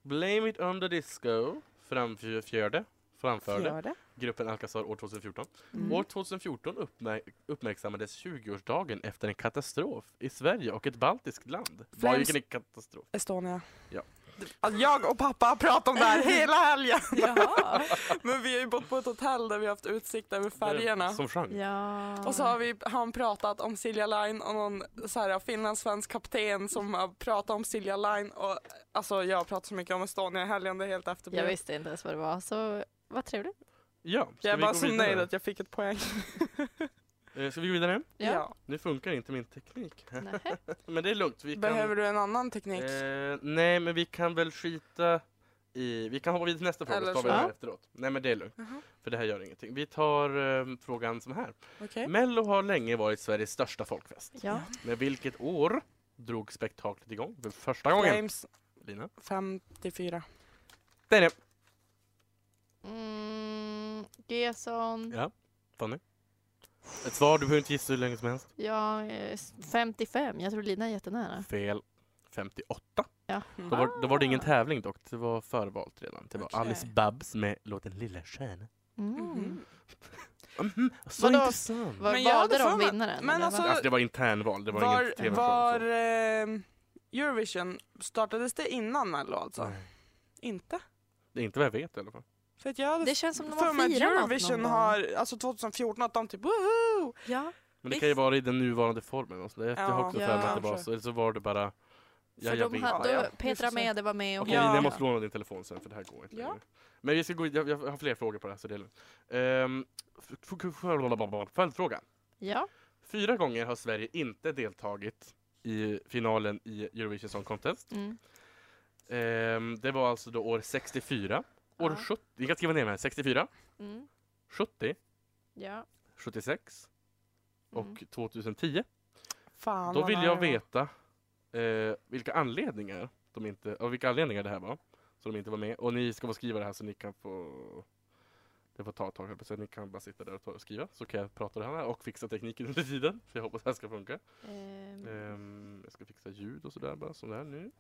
B: Blame it on the disco framförde, framförde
C: Gör det.
B: gruppen Alcazar år 2014.
D: Mm.
B: År 2014 uppmär- uppmärksammades 20-årsdagen efter en katastrof i Sverige och ett baltiskt land. Vad
C: Främst-
B: gick det katastrof?
C: Estonia.
B: Ja.
C: Alltså jag och pappa har pratat om det här hela <laughs> helgen.
B: <laughs>
D: Jaha.
C: Men vi har ju bott på ett hotell där vi har haft utsikt över färgerna.
B: Som genre.
D: Ja.
C: Och så har vi, har han pratat om Silja Line och någon så här, finlandssvensk kapten som har pratat om Silja Line. Och, alltså jag har pratat så mycket om Estonia i helgen, det är helt
D: Jag
C: efterblivet.
D: visste inte ens vad det var, så vad trevligt.
B: Ja, ska
C: Jag är
B: vi
C: bara
B: gå
C: så
B: vidare?
C: nöjd att jag fick ett poäng.
B: Eh, Ska vi gå vidare?
C: <laughs> Ja.
B: Nu funkar inte min teknik. <laughs>
D: Nähä.
B: Men det är lugnt. Vi kan...
C: Behöver du en annan teknik?
B: Eh, nej, men vi kan väl skita i... Vi kan hoppa vidare till nästa fråga
C: Eller
B: så tar vi
C: så.
B: det här
D: Ja.
B: efteråt. Nej, men det är lugnt.
C: Jaha,
B: För det här gör ingenting. Vi tar eh, frågan som här.
C: Okej.
B: Mello har länge varit Sveriges största folkfest.
D: Ja.
B: Men vilket år drog spektaklet igång för första gången?
C: Flames
B: Lina?
C: 54.
B: Det är det.
D: Mm, Gesson,
B: Ja. Fanny? Ett svar, du behöver inte gissa hur länge som helst.
D: ja, eh, 55. Jag tror Lina är jättenära.
B: Fel. 58.
D: Ja.
B: Då var, då
D: Ah.
B: var det ingen tävling dock, det var förvalt redan. Det var
C: Okej.
B: Alice Babs med låten Lilla stjärna.
D: Mm.
B: Mhm, så
D: Vadå?
B: intressant!
D: Var,
C: Men jag
D: valde
C: hade för
D: de
C: mig-
D: vinnaren?
C: men
D: eller
C: alltså-
D: vad?
B: Alltså det var internval, det var,
C: Var,
B: ingen tv
C: var eh, Eurovision, startades det innan Mello alltså? Inte?
B: Det är inte vad jag vet i alla fall.
C: För att jag hade
D: det känns som de
C: för
D: har
C: mig att
D: firat något
C: Eurovision
D: någon gång.
C: har, alltså 2014, att de typ woho!
D: Ja.
B: Men det kan ju vara i den nuvarande formen. Alltså. Jag jag har också
D: Ja,
B: för mig att det var
C: kanske.
B: så. Eller så var det bara... Ja,
D: För
B: jag
D: de
B: vet.
D: hade,
C: Ja, ja.
D: Petra
C: Just det.
D: Mede var med och
B: Okej,
C: Ja.
B: Lina, jag måste låna din telefon sen för det här går inte
C: Ja.
B: längre. Men vi ska gå, in- jag, jag har fler frågor på det här så det är lugnt. Ehm, f- f- f- Följdfråga.
D: Ja.
B: Fyra gånger har Sverige inte deltagit i finalen i Eurovision Song Contest.
D: Mm.
B: Ehm, det var alltså då år 64, år
D: Ja.
B: 70, vi kan skriva ner det här, 64,
D: Mm.
B: 70,
D: Ja.
B: 76 och
D: Mm.
B: 2010.
C: Fan
B: Då
C: vad
B: vill
C: nära
B: jag
C: var.
B: veta eh, vilka anledningar de inte, av vilka anledningar det här var, så de inte var med. Och ni ska få skriva det här så ni kan få det får ta ett tag, höll jag på att säga. ni kan bara sitta där och, ta och skriva så kan jag prata det här och fixa tekniken under tiden. För jag hoppas det här ska funka.
D: Ehm,
B: Ehm, jag ska fixa ljud och sådär bara som det här nu.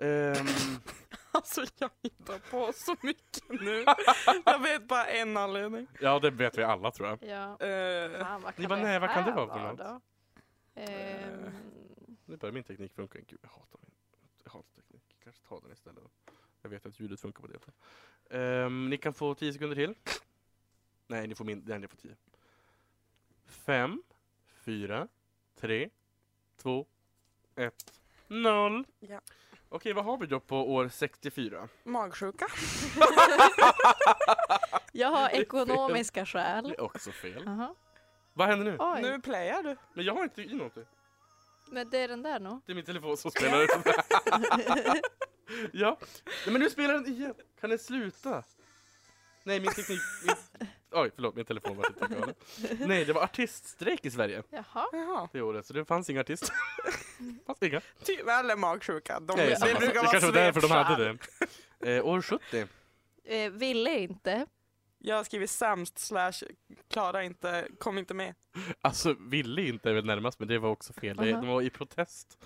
B: Ehm,
C: <laughs> Alltså jag hittar på så mycket
B: <laughs>
C: nu. jag vet bara en anledning.
B: ja, det vet vi alla tror jag.
D: ja.
C: Eh,
D: Fan, vad
B: Ni
D: kan
B: bara, nej, vad kan det
D: här
B: vara för något?
D: då? Ehm,
B: Nu börjar min teknik funka. Gud, jag hatar min jag hatar teknik. Kanske ta den istället. Jag vet att ljudet funkar på det. Ehm, ni kan få 10 sekunder till. Nej, ni får min, nej, ni får 10. 5, 4, 3, 2, 1, 0.
C: Ja.
B: Okej, vad har vi då på år 64?
C: Magsjuka.
D: Jag
C: <laughs>
D: har ekonomiska skäl.
B: Det är också fel.
D: Jaha.
B: Vad händer nu?
D: Oj.
C: Nu playar du.
B: Men jag har inte i någonting.
D: Men det är den där nog.
B: Det är min telefon som spelar ut. ja. Nej, men nu spelar den igen. Kan den sluta? Nej, min teknik... Min... Oj, förlåt. Min telefon var typ lite galen. Nej, det var artiststrejk i Sverige
D: Jaha.
C: Jaha.
B: det året, så det fanns inga artister. <laughs> fanns inga.
C: Typ, eller magsjuka. De,
B: Nej, samma
C: det
B: sak.
C: brukar vara
B: kanske var därför de
C: svepskäl.
B: hade det. Eh, år 70.
D: Eh, ville inte.
C: Jag har skrivit sämst slash klara inte, kom inte med.
B: Alltså, ville inte är väl närmast, men det var också fel. Det-
D: Aha.
B: De var i protest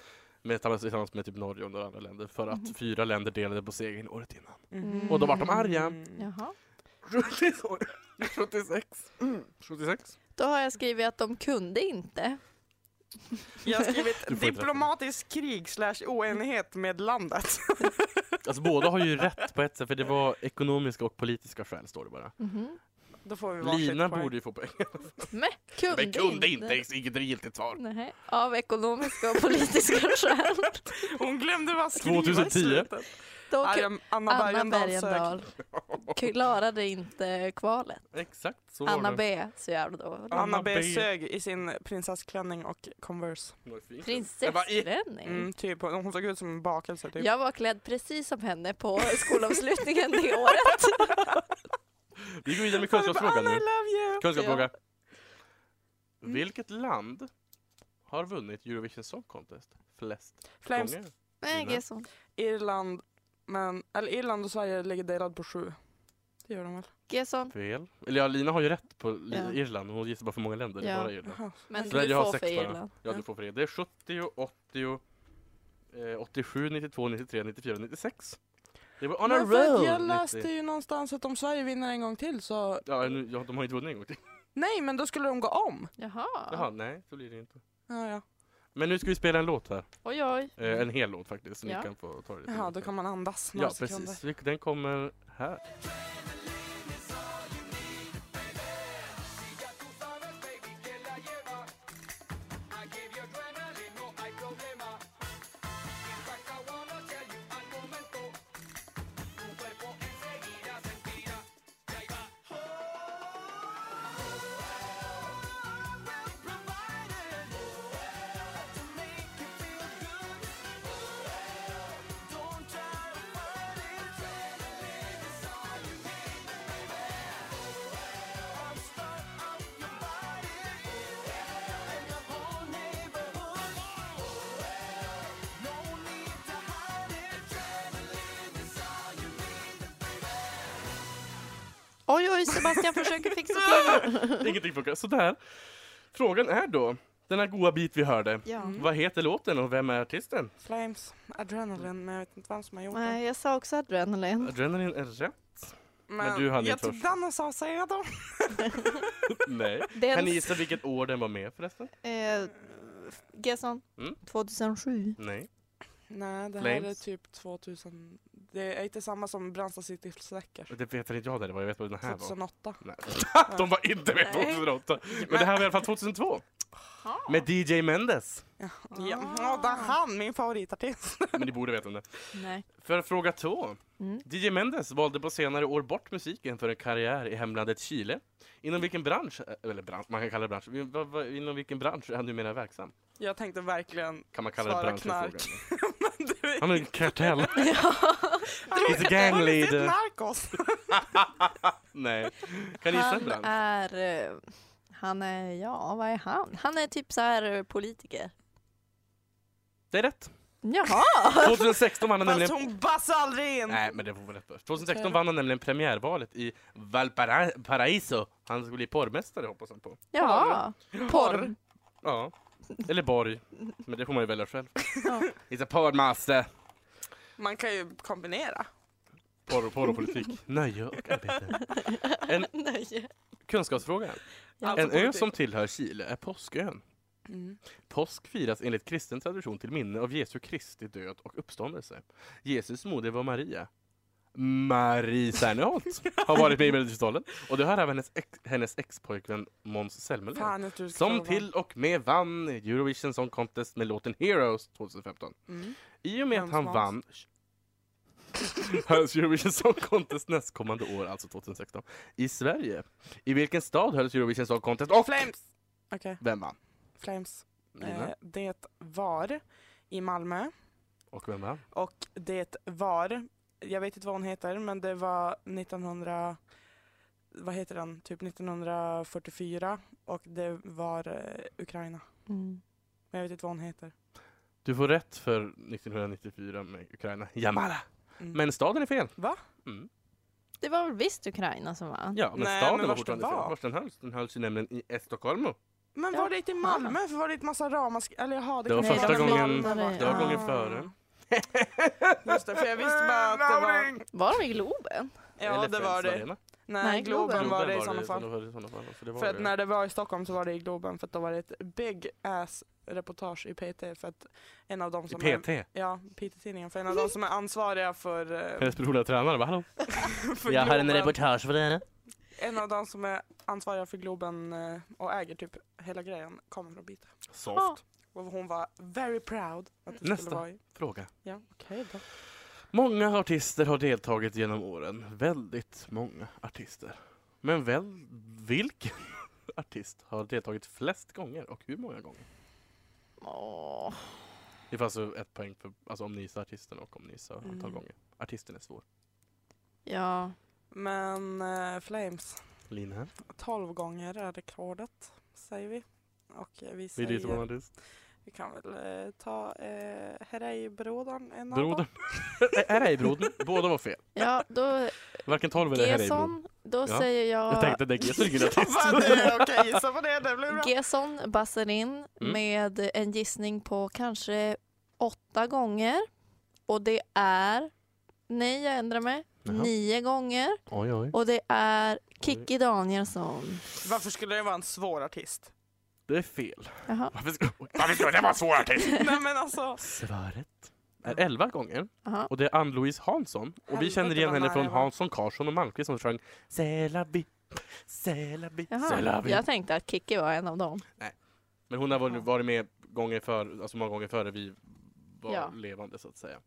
B: med, tillsammans med typ Norge och några andra länder för att fyra länder delade på segern året innan.
D: Mm.
B: Och då vart de arga.
D: Jaha.
B: 76. 76.
D: Då har jag skrivit att de kunde inte.
C: Jag har
B: Du
C: skrivit
B: får inte
C: diplomatisk krig slash oenighet med landet. <laughs>
B: Alltså båda har ju rätt på ett sätt, för det var ekonomiska och politiska skäl står det bara.
D: Mhm.
C: Då får vi varsitt
B: Lina
C: poäng.
B: borde ju få poäng.
D: Men kunde,
B: Men kunde inte, inget giltigt svar.
D: Nej. Av ekonomiska och politiska <laughs> skäl.
C: Hon glömde vad skriva
B: 2010.
C: i slutet.
D: De
C: Nej,
D: kun-
C: jag- Anna
D: Anna
C: Bergendahl sök.
D: Bergendahl klarade inte kvalet.
B: Exakt så
D: Anna
B: var
D: B. Så jävla dålig.
B: Anna
C: Anna
B: B.
C: B sög i sin prinsessklänning och Converse.
B: det. Jag bara, i-
D: Prinsessklänning.
C: Mm, typ, hon såg ut som en bakelse. Typ.
D: Jag var klädd precis som henne på skolavslutningen <laughs> det året.
B: Vi går vidare med
C: Hon bara,
B: kunskapsfrågan
C: "Anna, I
B: nu.
C: love you!
B: Kunskapsfråga. Vilket land har vunnit Eurovision Song Contest flest
C: Flames,
B: gånger?
D: Men
B: Nej.
D: Gesson.
C: Irland, men, eller Irland och Sverige ligger delad på sju. Det gör de väl?
D: Gesson.
B: Fel. Eller ja, Lina har ju rätt på li-
D: Ja.
B: Irland. Hon gissar bara för många länder.
D: Ja.
B: Ja. Bara Irland.
C: Jaha.
D: Men du
B: Sverige har
D: får
B: sex
D: för
B: bara.
D: Irland.
B: Ja, du får för det. Det är 70, 80, eh, 87, 92, 93, 94, 96. Det var on a
C: Men för att
B: roll!
C: jag
B: 90.
C: läste ju någonstans att om Sverige vinner en gång till så...
B: Ja, nu, ja, de har inte vunnit en gång till.
C: Nej, men då skulle de gå om.
D: Jaha.
B: Jaha, nej, så blir det inte.
C: Ja, ja.
B: Men nu ska vi spela en låt här.
D: Oj, oj.
B: Eh, en hel låt faktiskt. Så
D: Ja.
B: ni kan få ta det lite
C: Jaha,
B: lugnt
C: Mm. då
B: här.
C: kan man andas några
B: Ja,
C: sekunder.
B: precis. Vi- Den kommer här.
C: <laughs>
D: Oj, oj, Sebastian försöker <laughs> fixa till.
B: Ingenting funkar. Sådär. Frågan är då, denna goa bit vi hörde.
D: Ja.
C: Mm.
B: Vad heter låten och vem är artisten?
C: Flames, adrenalin, men jag vet inte vem som har gjort
D: Nej, jag sa också adrenalin.
B: Adrenalin är rätt.
C: den.
B: men du hann
C: jag
B: inte
C: tog
B: först.
C: den och sa säga då. <laughs>
B: Nej.
D: Den,
B: Kan ni gissa vilket år den var med förresten?
D: eh, Gesson.
B: Mm.
D: 2007.
B: Nej.
C: Nej, det här är
B: Flames.
C: typ 2000. Det är inte samma som Brandsta City Släcker.
B: Det vet inte jag där det var. Jag vet vad den här
C: Typ
B: var.
C: 2008.
B: Nej. <laughs> De var inte med
D: Nej.
B: 2008. Men det här var i alla fall 2002. Med DJ Mendes.
C: Ja, och där han, min favoritartist. <laughs>
B: Men ni borde veta om det.
D: Nej.
B: För fråga två. <laughs>
D: Mm.
B: DJ Mendes valde på senare år bort musiken för en karriär i hemlandet Chile. Inom vilken bransch, eh, eller bransch, man kan kalla det bransch, Vad- vad- inom vilken bransch är han numera verksam?
C: Jag tänkte verkligen... <laughs>
B: Kan man kalla det
C: Svara
B: bransch?
C: knark.
B: i
C: Men du,
B: frågan? Han är en kartell. He's a gang
C: Har du sett
B: leader.
C: Narcos?
B: Nej. Kan ni gissa en
D: Han
B: bransch?
D: är... eh, Han är, ja vad är han? Han är typ så här eh, politiker.
B: Det är rätt.
D: Jaha!
B: 2016 vann han
C: Fast
B: nämligen...
C: hon bassar aldrig in.
B: Nej, men det var väl rätt först. 2016 vann han nämligen premiärvalet i Valparaiso. Han skulle bli porrmästare hoppas han på.
D: Jaha. Porr.
B: Ja. Eller borg. Men det får man ju välja själv.
D: Ja.
B: He's a porrmaster.
C: Man kan ju kombinera.
B: Porr och porr och politik. Nöje och arbete. En
D: Nej.
B: kunskapsfråga.
C: Alltså
B: En ö
C: politik.
B: som tillhör Chile är Påskön.
C: Mm.
B: Påsk firas enligt kristen tradition till minne av Jesu Kristi död och uppståndelse. Jesus moder var Maria. Marie Serneholt har varit med i Melodifestivalen och det har även hennes, ex, hennes ex-pojkvän Måns Zelmerlöw.
C: Fan att du ska
B: Som
C: vara-
B: till och med vann Eurovision Song Contest med låten Heroes 2015.
C: Mm.
B: I och med att
C: Vems
B: han
C: Måns?
B: vann <laughs> hölls Eurovision Song Contest nästkommande år, alltså 2016, i Sverige. I vilken stad hölls Eurovision Song Contest och
C: Flames! Okej,
B: vem vann?
C: Flames.
B: Nina.
C: Eh, det var i Malmö
B: Och vem vann?
C: och det var, jag vet inte vad hon heter, men det var 1900, vad heter den, typ 1944 och det var eh, Ukraina.
D: Mm.
C: Men jag vet inte vad hon heter.
B: Du får rätt för 1994 med Ukraina. Jamala!
C: Mm.
B: Men staden är fel.
C: Va?
B: Mm.
D: Det var väl visst Ukraina som var?
B: Ja, men
C: Nej,
B: staden
C: men
B: var
C: vars
B: fortfarande
C: den
B: fel.
C: var?
B: Vars den hölls? Den hölls ju nämligen i Estocolmo.
C: Men
D: Ja.
C: var det i Malmö? För var det inte massa ramask... Eller jaha, det,
B: Det var
C: kanske
D: första
C: i
D: gången-
C: Malmö, va?
B: det var gången
C: Ah.
B: före.
C: <laughs> Just det, för jag visste bara att det var...
D: Var de i Globen?
C: Ja, det var det. Nej,
D: Nej,
C: Globen,
D: Globen
C: var det i sådana fall.
B: Var det i sådana fall. Så det var
C: För att
B: det.
C: när det var i Stockholm så var det i Globen för att då var det ett big ass reportage i PT för att en av dem som
B: I PT.
C: är Ja, PT-tidningen. För en av dem som är
B: <laughs>
C: ansvariga för, eh,
B: Hennes personliga tränare bara hallå.
C: för Globen-
B: reportage för dig.
C: En av dem som är ansvariga för Globen eh, och äger typ hela grejen kommer från BT.
B: Soft.
D: Ja.
C: Och hon var very proud att det
B: Nästa.
C: skulle vara i.
B: Fråga.
C: Ja, okej då.
B: Många artister har deltagit genom åren. Väldigt många artister. Men väl, vilken <laughs> artist har deltagit flest gånger och hur många gånger?
D: Åh.
B: Det fanns alltså ett poäng för, alltså om ni gissar artisten och om ni gissar antal
C: Mm.
B: gånger. Artisten är svår.
D: Ja.
C: Men eh, Flames,
B: Lina,
C: 12 gånger är rekordet säger vi. Och eh, vi
B: vi
C: säger,
B: är på en artist.
C: vi kan väl eh, ta eh, Herrey-brodern en av dem. <laughs>
B: Brodern. <laughs> Är det brodern? Båda var fel.
D: ja, då
B: Varken 12 eller Herrey brodern.
D: Gesson, då
B: Ja.
D: säger jag...
B: Jag tänkte att det är Gesson är
C: Ja, fan,
B: artist.
C: det är Okej, gissa på det. Det blir bra.
D: Gesson bassar in
B: Mm.
D: med en gissning på kanske åtta gånger. Och det är, nej jag ändrar mig,
B: Jaha.
D: nio gånger.
B: Oj, oj.
D: Och det är Kikki Danielsson.
C: Varför skulle det vara en svår <laughs> artist?
B: Det är fel.
D: Jaha.
B: Varför skulle, varför skulle det vara en svår artist?
C: Nej men alltså.
B: Svaret är 11 Eh, gånger.
D: Jaha.
B: Och det är Ann-Louise Hansson. Och vi
C: Helvete,
B: känner igen
C: vad
B: henne
C: nära
B: från
C: jag var.
B: Hansson, Karlsson och Malmqvist som sjöng C'est la vie, c'est la vie, c'est la
D: Jaha.
B: vie.
D: Jag tänkte att Kikki var en av dem.
B: Men hon har
C: Jaha.
B: varit, varit med gånger för, alltså många gånger före vi var
D: Ja.
B: levande så att säga.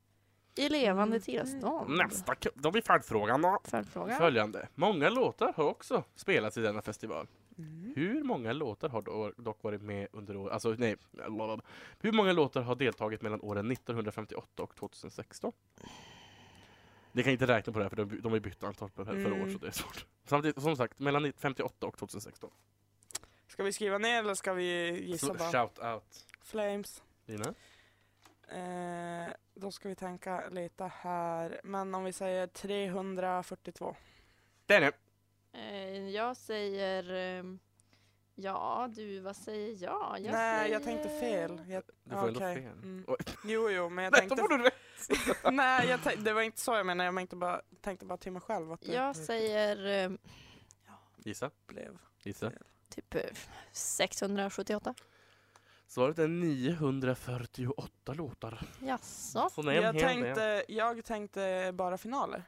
D: I levande
C: Mm.
D: tillstånd.
B: Nästa, k- då blir följdfrågan då.
D: Följdfråga.
B: Följande. Många låtar har också spelats i denna festival.
C: Mm.
B: Hur många låtar har då- dock varit med under året, alltså nej, blablabla. hur många låtar har deltagit mellan åren 1958 och 2016? Ni kan inte räkna på det här för de, de har ju bytt antal per, per
C: Mm.
B: år så det är svårt. Samtidigt, som sagt, mellan 1958 och 2016.
C: Ska vi skriva ner eller ska vi gissa
B: Så,
C: bara?
B: shout out.
C: Flames.
B: Lina?
C: Eh, då ska vi tänka lite här. Men om vi säger 342.
B: Danny!
D: Eh, Jag säger... ehm, Ja, du, vad säger jag? jag
C: Nej,
D: säger...
C: jag tänkte fel. Jag,
B: Du får
C: Okej.
B: ändå fel.
C: Mm.
B: <laughs> Oj,
C: jo, jo, men jag
B: nej, då
C: tänkte...
B: får du rätt!
C: Nej, jag tänk- det var inte så jag menade. Jag tänkte bara, tänkte bara till mig själv att det
D: Jag säger ehm,
B: Gissa,
C: blev...
B: gissa.
D: typ eh, 678.
B: Svaret är 948 låtar.
D: Jaså?
B: Så nej, en
C: jag,
B: hel del.
C: tänkte, jag tänkte bara finaler,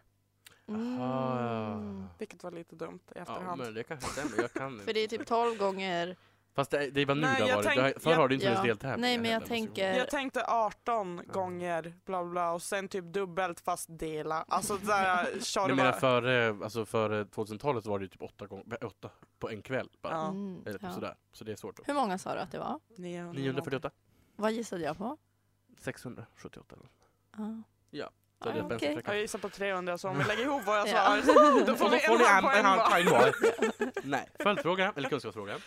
B: Aha.
C: vilket var lite dumt i
B: Ja,
C: Mm. efterhand.
B: men det kanske stämmer. Jag
C: <laughs>
B: kan
D: För det är typ 12 gånger...
B: Fast det, det var nu
C: Nej,
B: det
C: jag
B: har varit.
C: tänk-
B: Tänk, förr har du inte
D: ja.
B: ens deltävlingar.
D: Nej, men jag
B: heller, måste ju-
D: tänker-
C: Jag tänkte 18
B: Ja.
C: gånger bla bla och sen typ dubbelt fast dela. Alltså
B: <laughs>
C: såhär kör
B: Jag
C: bara.
B: menar före alltså för 2000-talet så var det ju typ åtta, gång, åtta på en kväll. Bara.
C: Ja.
D: Mm,
B: Eller typ
D: ja.
B: sådär. Så det är svårt. Då.
D: Hur många sa du att det var?
C: 900.
B: 948?
D: Vad gissade jag på?
B: 678.
D: Ja.
B: Ja,
D: Ah,
B: det är
D: okej.
B: vänsterstreck.
C: Jag gissar på 300 så om vi lägger ihop
B: <laughs>
C: vad jag
D: Ja.
C: svarar då får
B: Och
C: vi
B: då får
C: en
B: ni en,
C: halv poäng
B: en halv
C: var.
B: poäng var.
C: <laughs>
B: Nej. Följdfråga, eller kunskapsfråga.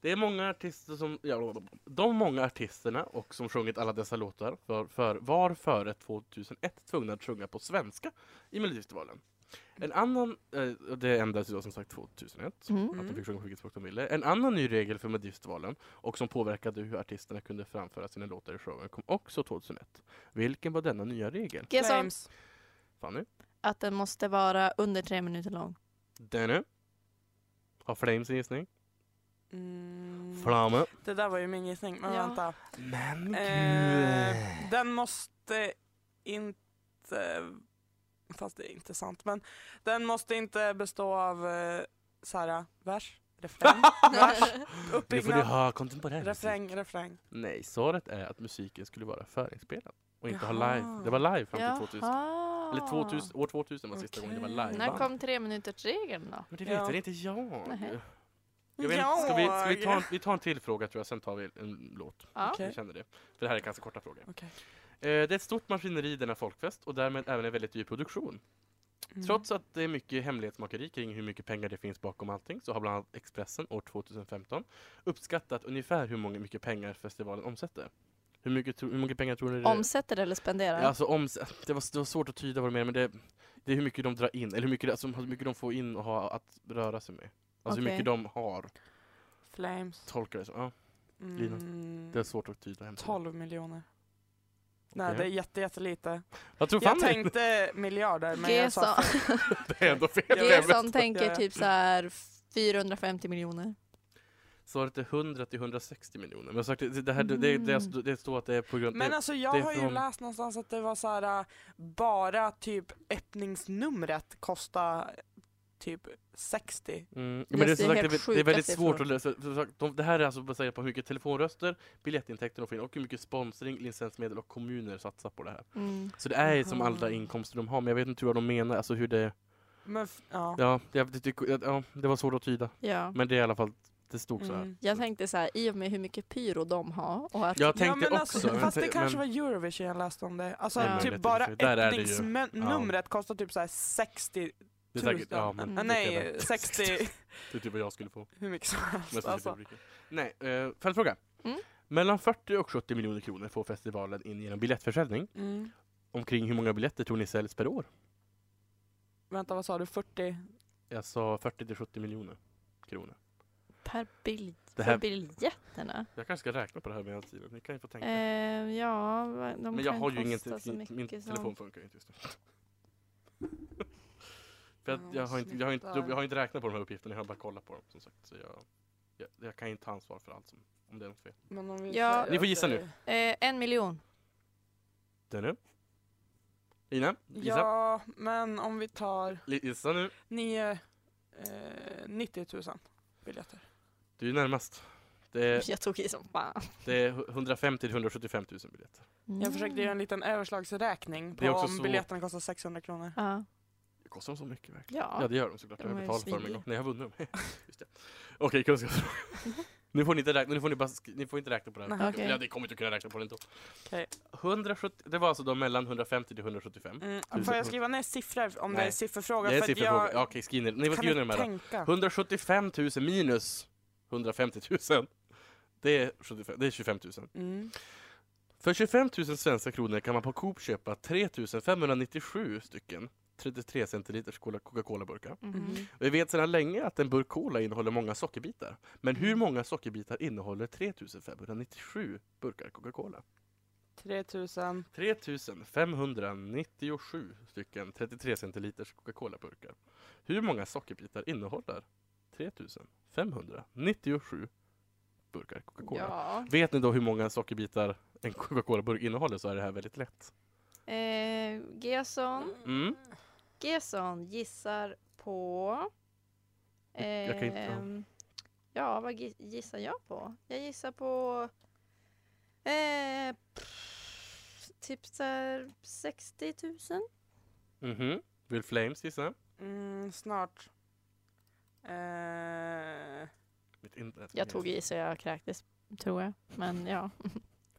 B: Det är många artister som... Ja, de många artisterna och som sjungit alla dessa låtar var, för, var före 2001 tvungna att sjunga på svenska i Melodifestivalen. En annan, eh, och det ändrades ju då som sagt 2001.
D: Mm.
B: Att de
C: Mm.
B: fick sjunga på vilket språk de ville. En annan ny regel för Melodifestivalen och som påverkade hur artisterna kunde framföra sina låtar i showen kom också 2001. Vilken var denna nya regel?
D: Jag sa
C: Flames.
B: Fanny?
D: att den måste
C: <laughs>
D: vara under tre minuter lång.
B: Denny? Har Flames en gissning?
C: Mm.
B: Flamme.
C: Det där var ju min gissning, men
D: Ja.
C: vänta.
B: Men
C: <laughs> Eh, den måste inte... Fast det är inte sant. Men den måste inte bestå av eh, så här, vers,
B: <laughs>
C: refräng, vers,
B: Nu får ni
C: uppbyggnad,
B: ha kontemporär musik.
C: refräng, refräng.
B: Nej, svaret är att musiken skulle vara förinspelad och inte ha
C: Jaha.
B: live. Det var live fram till 2000.
D: Jaha.
B: Eller 2000, år 2000 var sista gången det var
C: Okej.
B: live.
D: När kom tre minuters regeln då?
B: Men det
C: Ja.
B: vet väl inte jag?
D: Nähä.
B: jag vet, inte, ska vi, ska vi, ta en,
C: Jag-
B: vi tar en till fråga tror jag, sen tar vi en låt.
D: Ja.
C: Okej.
B: Jag känner det. För det här är ganska korta frågor.
C: Okej.
B: Eh, Det är ett stort maskineri denna folkfest och därmed även en väldigt dyr produktion.
C: Mm.
B: Trots att det är mycket hemlighetsmakeri kring hur mycket pengar det finns bakom allting så har bland annat Expressen år 2015 uppskattat ungefär hur många, mycket pengar festivalen omsätter. Hur mycket, tro- hur mycket pengar tror ni det
D: Omsätter eller spenderar?
B: Ja, Alltså om, det, var, det var svårt att tyda vad du menar, men det, det är hur mycket de drar in, eller hur mycket, alltså, hur mycket de får in och har att röra sig med. Alltså hur
D: Okej.
B: mycket de har,
C: Mm. Flames.
B: tolkar det så. Ja, Lina.
C: Mm,
B: det är svårt att tyda. hemskt.
C: 12 miljoner. Nej,
B: Okej.
C: det är jätte, jättelite.
B: Jag tror fan
C: Jag tänkte miljarder, men jag sa
D: Gesson,
C: fel.
B: det är ändå fel.
D: Gesson tänker
C: Ja.
D: typ så här 450 miljoner.
B: Svaret är 100 till 160 miljoner. Men sagt, det, det, här, det, det, det, det står att det är på grund
C: Men
B: det,
C: alltså jag
B: det är
C: har ju
B: från-
C: läst någonstans att det var så här äh, bara typ öppningsnumret kostar typ 60.
B: Mm,
D: Det
B: men det, är
D: ser
B: som sagt,
D: helt
B: det, är- det är väldigt
D: sjuka
B: svårt att lösa. Som sagt, de, det här är alltså baserat på hur mycket telefonröster, biljettintäkter de får in och hur mycket sponsring, licensmedel och kommuner satsar på det här.
D: Mm.
B: Så det är som alla
C: Aha.
B: inkomster de har, men jag vet inte hur de menar, alltså hur det...
C: Men f- ja.
B: Ja, jag, det, det, ja, det var svårt att tyda.
D: Ja.
B: Men det är i alla fall, det stod så här.
C: Mm.
D: Jag tänkte så här, i och med hur mycket pyro de har och att
B: Jag tänkte
C: ja, men
B: också...
C: Alltså,
B: men
C: fast det
B: tänk-
C: kanske
B: men,
C: var Eurovision jag läste om det. Alltså
D: Det är
B: möjligt i
C: typ
B: och
C: bara
B: för sig. Där är det ju.
C: öppningsnumret kostar typ så här 60
B: det är säkert,
C: tusen.
B: ja, men,
D: Mm.
C: Äh, nej,
B: lika bra. <laughs>
C: 60
B: Det är typ vad jag skulle få.
C: hur mycket som
B: Men
C: helst.
B: så
C: Alltså.
B: typ Nej, eh, följdfråga.
D: Mm.
B: Mellan 40 och 70 miljoner kronor får festivalen in genom biljettförsäljning.
C: Mm.
B: Omkring hur många biljetter tror ni säljs per år?
C: Vänta vad sa du? 40?
B: Jag sa 40 till 70 miljoner kronor.
D: per bild, för
B: Det här-
D: biljetterna.
B: Jag kanske ska räkna på det här medan tiden. Ni kan ju få tänka.
D: Eh, ja, va- de
B: Men jag
D: kan
B: har ju ingen
D: kosta så
B: min, min
D: mycket som-
B: telefon funkar ju
D: <laughs>
B: inte just nu. För
C: Ja,
B: att jag, har inte, jag, har inte,
C: sluta.
B: jag har inte räknat på de här uppgifterna, jag har bara kollat på dem som sagt. Så jag, jag, jag kan inte ta ansvar för allt som, om det är något fel.
C: Men om vi
D: Ja.
C: säger
B: Ni får
C: att
B: gissa
C: det-
B: nu.
D: Eh, en miljon.
B: Det nu. Ina, gissa.
C: Ja, men om vi tar
B: Li- Gissa nu.
C: nio, eh, 90 000 biljetter.
B: Du är närmast. Det är,
D: <laughs> Jag tog i som fan.
B: det är 150 till 175 000 biljetter.
D: Mm.
C: Jag försökte göra en liten överslagsräkning
B: Det är
C: på
B: också
C: om
B: så-
C: biljetterna kostar 600 kronor.
D: Ja.
B: Det kostar de så mycket verkligen? Ja,
D: ja.
B: det gör de såklart. Jag
D: De
B: har
D: är
B: betalat för dem en
D: svindyra.
B: gång. Nej, jag har vunnit dem. <laughs> Just det. Okej, kunskapsfråga. nu får ni inte räkna, nu får ni bara, sk- ni får inte räkna på det här.
C: Nej,
D: okej.
B: Ja, det kommer inte att kunna räkna på det ändå.
C: Okej.
B: 170, det var alltså då mellan 150 till 175.
C: Mm. Får jag skriva ner siffror om det
B: Nej.
C: är sifferfråga?
B: Jag är en
C: För att
B: sifferfråga.
C: jag
B: Ja, Okej, skriv ner. Ni får
C: kan
B: skriva ner de
C: inte
B: här. då.
C: tänka.
B: 175 000 minus 150 000. Det är, 75, det är 25 000.
C: Mm.
B: För 25 000 svenska kronor kan man på Coop köpa 3 597 stycken 33 centiliters cola- Coca-Cola-burkar.
D: Mhm.
B: Vi vet sedan länge att en burk cola innehåller många sockerbitar. Men hur många sockerbitar innehåller 3 597 burkar Coca-Cola?
C: 3000.
B: 3597 stycken 33 centiliters Coca-Cola-burkar. Hur många sockerbitar innehåller 3597 burkar Coca-Cola?
D: Ja.
B: Vet ni då hur många sockerbitar en Coca-Cola-burk innehåller så är det här väldigt lätt.
D: Eh, Gesson,
B: Mm.
D: Gesson gissar på...
B: Jag kan inte- ja.
D: ehm, ja, vad gi- gissar jag på? Jag gissar på... Eh, pff, typ så här 60 000?
B: Mhm. Vill Flames gissa?
C: Mm, snart.
B: <laughs>
C: Eh,
B: Mitt internet.
D: Jag tog
B: <laughs>
D: i så jag kräktes, tror jag. Men ja.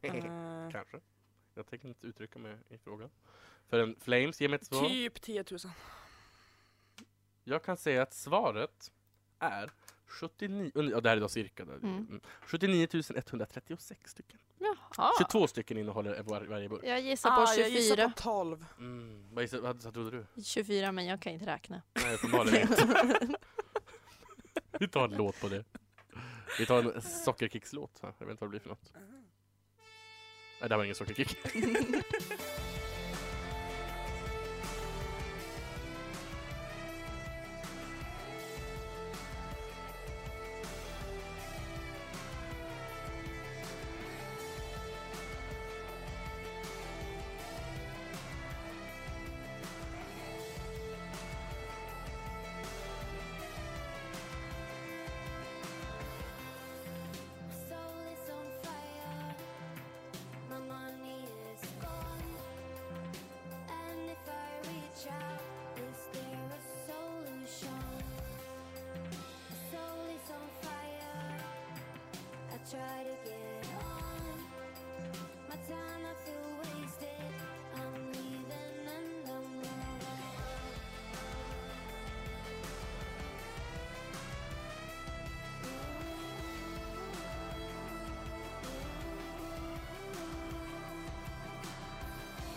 C: eh,
B: Kanske. Jag tänker inte uttrycka mig i frågan. För en Flames, ge mig ett svar.
C: typ 10 000.
B: Jag kan säga att svaret är 79, und- ja det här är då cirka, där.
D: Mm.
B: Mm. 79 136 stycken.
D: Jaha.
B: 22 stycken innehåller var, varje burk.
D: Jag gissar på
C: Ah, Jag
D: 24.
C: gissar på 12.
B: Mm. Vad, gissar- vad, vad trodde du?
D: 24, men jag kan inte räkna.
B: Nej, uppenbarligen inte. Vi tar en låt på det. Vi tar en sockerkickslåt. här. Jag vet inte vad det blir för något. Nej, det här var ingen sockerkick.
C: <laughs>
B: <laughs>
E: to get on. My time I feel wasted. I'm leaving and I'm moving on.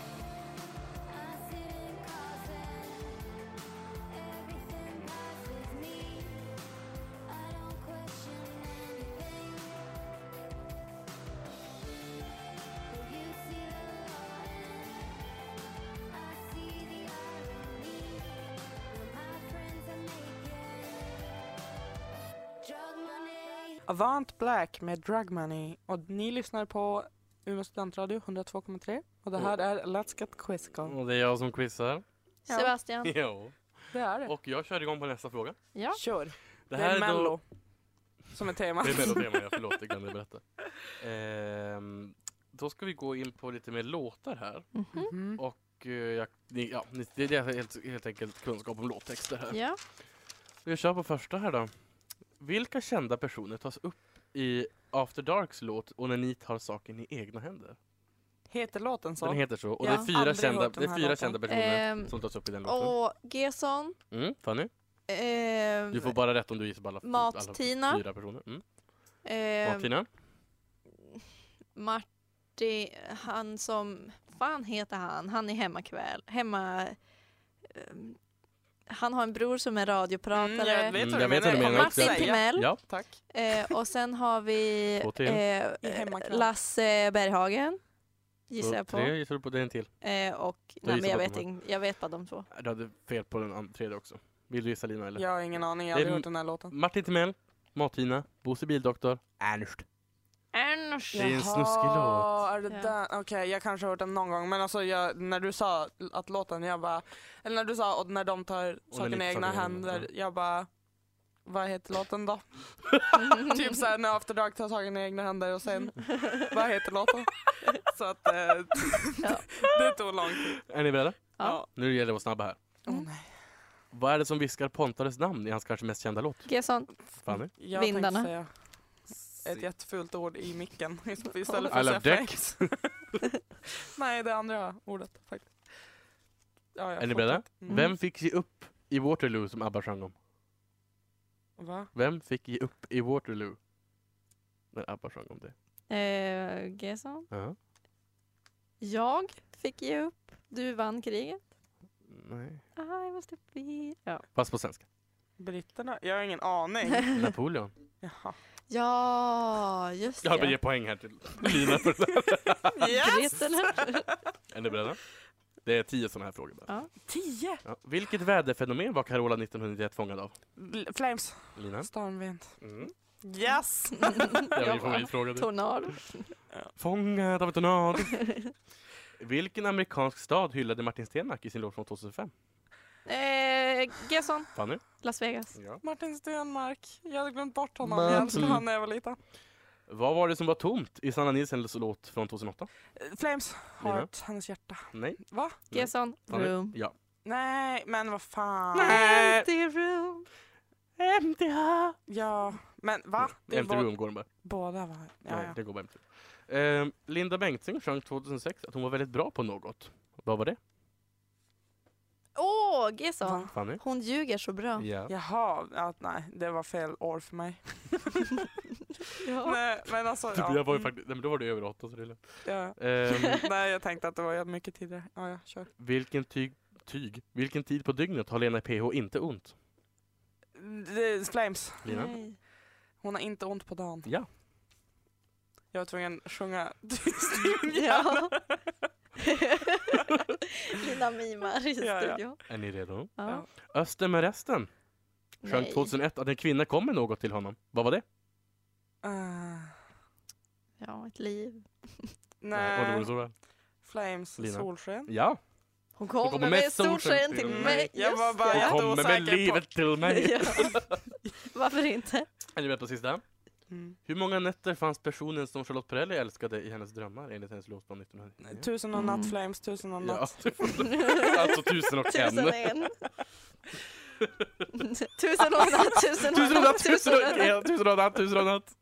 E: I sit and gossip. Everything passes me. I don't question anything. Will you see the law I see the irony. Will my friends are making drug money?
C: Avant Black med Drug Money och ni lyssnar på Umeå studentradio 102,3 och det här är Let's Get Quizzical.
B: Och det är jag som quizar.
C: Ja.
D: Sebastian.
B: Jo.
C: Det är det.
B: Och jag kör igång på nästa fråga.
D: Ja.
C: Kör.
B: Det
C: är
B: är då-
C: Mello som är temat.
B: Det är Mellotema, jag förlåt, jag glömde berätta. Ehm, då ska vi gå in på lite mer låtar här.
D: Mhm.
C: Mhm.
B: Och, eh, jag, ni- ja, ni- det det är helt, helt enkelt kunskap om låttexter här.
D: Ja.
B: Vi kör på första här då. Vilka kända personer tas upp i After Darks låt Och när ni tar saken i egna händer?
C: Heter låten så?
B: Den heter så och
D: Ja,
B: det är fyra,
C: aldrig
B: kända,
C: hört den
B: det är
C: här
B: fyra
C: låten.
B: kända personer
D: Ehm,
B: som tas upp i den låten.
D: och Gesson.
B: Mm, Fanny?
D: Ehm,
B: Du får bara rätt om du gissar på alla, alla
D: Mat-Tina.
B: fyra personer. Mm.
D: ehm,
B: Mat-Tina?
D: Martin, han som, fan heter han, han är hemma kväll, hemma, ehm, han har en bror som är
C: Mm, jag
D: radiopratare,
B: Mm,
C: vet vad du
B: jag vet vad du
C: menar. Jag
B: menar
C: kommer
B: också.
D: Martin
C: att säga.
D: Timell
B: Ja.
C: Tack.
D: eh, och sen har vi
B: Två till.
C: I
D: eh,
C: hemma kväll.
D: Lasse Berghagen gissar
B: Så
D: jag på
B: Tre gissar du på, det är en till.
D: eh, och,
B: gissar
D: nej men jag
B: på
D: vet,
B: de
D: ing, jag vet bara de två.
B: Du hade fel på den an- tredje också. Vill du gissa Lina eller?
C: Jag har ingen aning, jag
B: Det
C: har
B: är
C: aldrig
B: m-
C: hört den här låten.
B: Martin Timell, Mat-Tina, Bosse Bildoktor, Ernst.
D: Ernst!
B: Det är en snuskig låt.
C: är det
D: Ja.
C: den? Okej, jag kanske har hört den någon gång men alltså jag, när du sa att låten, jag bara... Eller när du sa och när de tar
B: när
C: saken
B: ni
C: i
B: tar saken
C: egna
B: i egna
C: händer,
B: händer.
C: jag bara... Vad heter
D: <laughs>
C: låten då? typ såhär när After Dark tar saken i egna händer
D: <laughs>
C: och sen, vad heter låten? Så att eh,
D: Ja.
C: <laughs> det tog lång tid.
B: Är ni beredda?
D: Ja.
B: Nu gäller det att vara snabba här.
D: Mm.
C: Åh, nej.
B: Vad är det som viskar Pontares namn i hans kanske mest kända låt?
D: Gesson,
B: Fanny?
C: Jag
D: Vindarna.
C: tänkte säga ett jättefult ord i micken <laughs> istället för
B: I love
C: att säga
B: dick.
C: face. <laughs> Nej, det andra ordet faktiskt. Ja, ja,
B: Är ni beredda?
C: fortsätt. Mm.
B: Vem fick ge upp i Waterloo som ABBA sjöng om?
C: Va?
B: Vem fick ge upp i Waterloo? När ABBA sjöng om det.
D: eh, Gesson.
B: Ja.
D: Jag fick ge upp, du vann kriget.
B: Nej.
D: I was the be... Ja.
B: Fast på svenska.
C: Britterna? Jag har ingen aning.
B: <laughs> Napoleon. <laughs>
C: Jaha.
D: Ja, just
B: Jag vill
D: det.
B: ge poäng här till Lina för det här.
C: Yes!
D: Gretel.
B: Är ni beredda? Det är tio sådana här frågor bara.
D: Ja.
C: Tio!
B: Ja. Vilket väderfenomen var Carola 1991 fångad av?
C: Bl- Flames.
B: Lina?
C: Stormvind.
B: Mm.
C: Yes!
B: Det är
D: Jag
B: min
D: bara,
B: favoritfråga.
D: <laughs>
B: det.
D: Tornado.
B: Fångad av en tornado. <laughs> Vilken amerikansk stad hyllade Martin Stenmarck i sin låt från 2005?
D: Eh, Gesson,
B: Fanny?
D: Las Vegas.
B: Ja.
C: Martin Stenmark. Jag hade glömt bort honom. Jag
B: Martin.
C: älskade honom när jag var liten.
B: Vad var det som var tomt i Sanna Nielsens låt från 2008?
C: Eh, Flames.
B: Lina?
C: Heart. Hennes hjärta.
B: Nej.
C: Va?
B: Nej.
D: Gesson,
B: Fanny?
D: Room.
B: Ja.
C: Nej, men vad fan.
D: Empty room.
B: MTH!
C: Ja, men va? Det är
B: MTV
C: bå-
B: umgår de bara.
C: båda va? Ja,
B: Nej,
C: ja.
B: det går bara MTV. Ehm, Linda Bengtzing sjöng 2006 att hon var väldigt bra på något. Vad var det?
D: Åh, Gesson.
C: Va?
B: Fanny?
D: Hon ljuger så bra.
B: Ja.
C: Jaha, ja, nej, det var fel år för mig. Nej, men alltså, ja.
B: Jag var ju
C: mm,
B: faktiskt, nej, men då var du över åtta så det är lugnt.
C: ja. <laughs>
B: Ehm,
C: Nej, jag tänkte att det var mycket tidigare. Ja, ja, kör.
B: vilken tyg, tyg, vilken tid på dygnet har Lena PH inte ont?
C: Det är Flames.
B: Lina?
D: Nej.
C: Hon har inte ont på dagen.
B: Ja.
C: Jag var tvungen att sjunga <laughs>
D: <laughs> Ja. Lina mimar i
C: Ja, ja.
D: studion.
B: Är ni redo?
D: Ja.
B: Öster med resten sjöng
D: Nej.
B: 2001 att en kvinna kom med något till honom. Vad var det?
C: Eh,
D: Ja, ett liv.
B: Och det
C: nej,
B: vore så väl.
C: Flames
B: Lina.
C: solsken.
B: Ja,
D: Hon kommer
B: kommer
D: med
B: med
D: solsken
B: solsken
D: till
B: till
D: mig.
C: mig. Jag
D: Just
C: var bara-
D: det.
C: Ja,
B: hon
C: då
B: kommer
C: säker
B: med
C: på-
B: livet till mig.
D: Ja. Varför inte?
B: Är ni med på sista?
C: Mm.
B: Hur många nätter fanns personen som Charlotte Perrelli älskade i hennes drömmar enligt hennes låt från 1999?
C: Tusen och natt Flames, tusen och
B: Ja,
C: natt.
B: <laughs> alltså tusen och en.
D: Tusen och en. tusen och en natt, tusen och en
B: Tusen och
D: natt,
B: natt, tusen
D: en
B: och
D: natt.
B: en, tusen och natt, tusen och natt.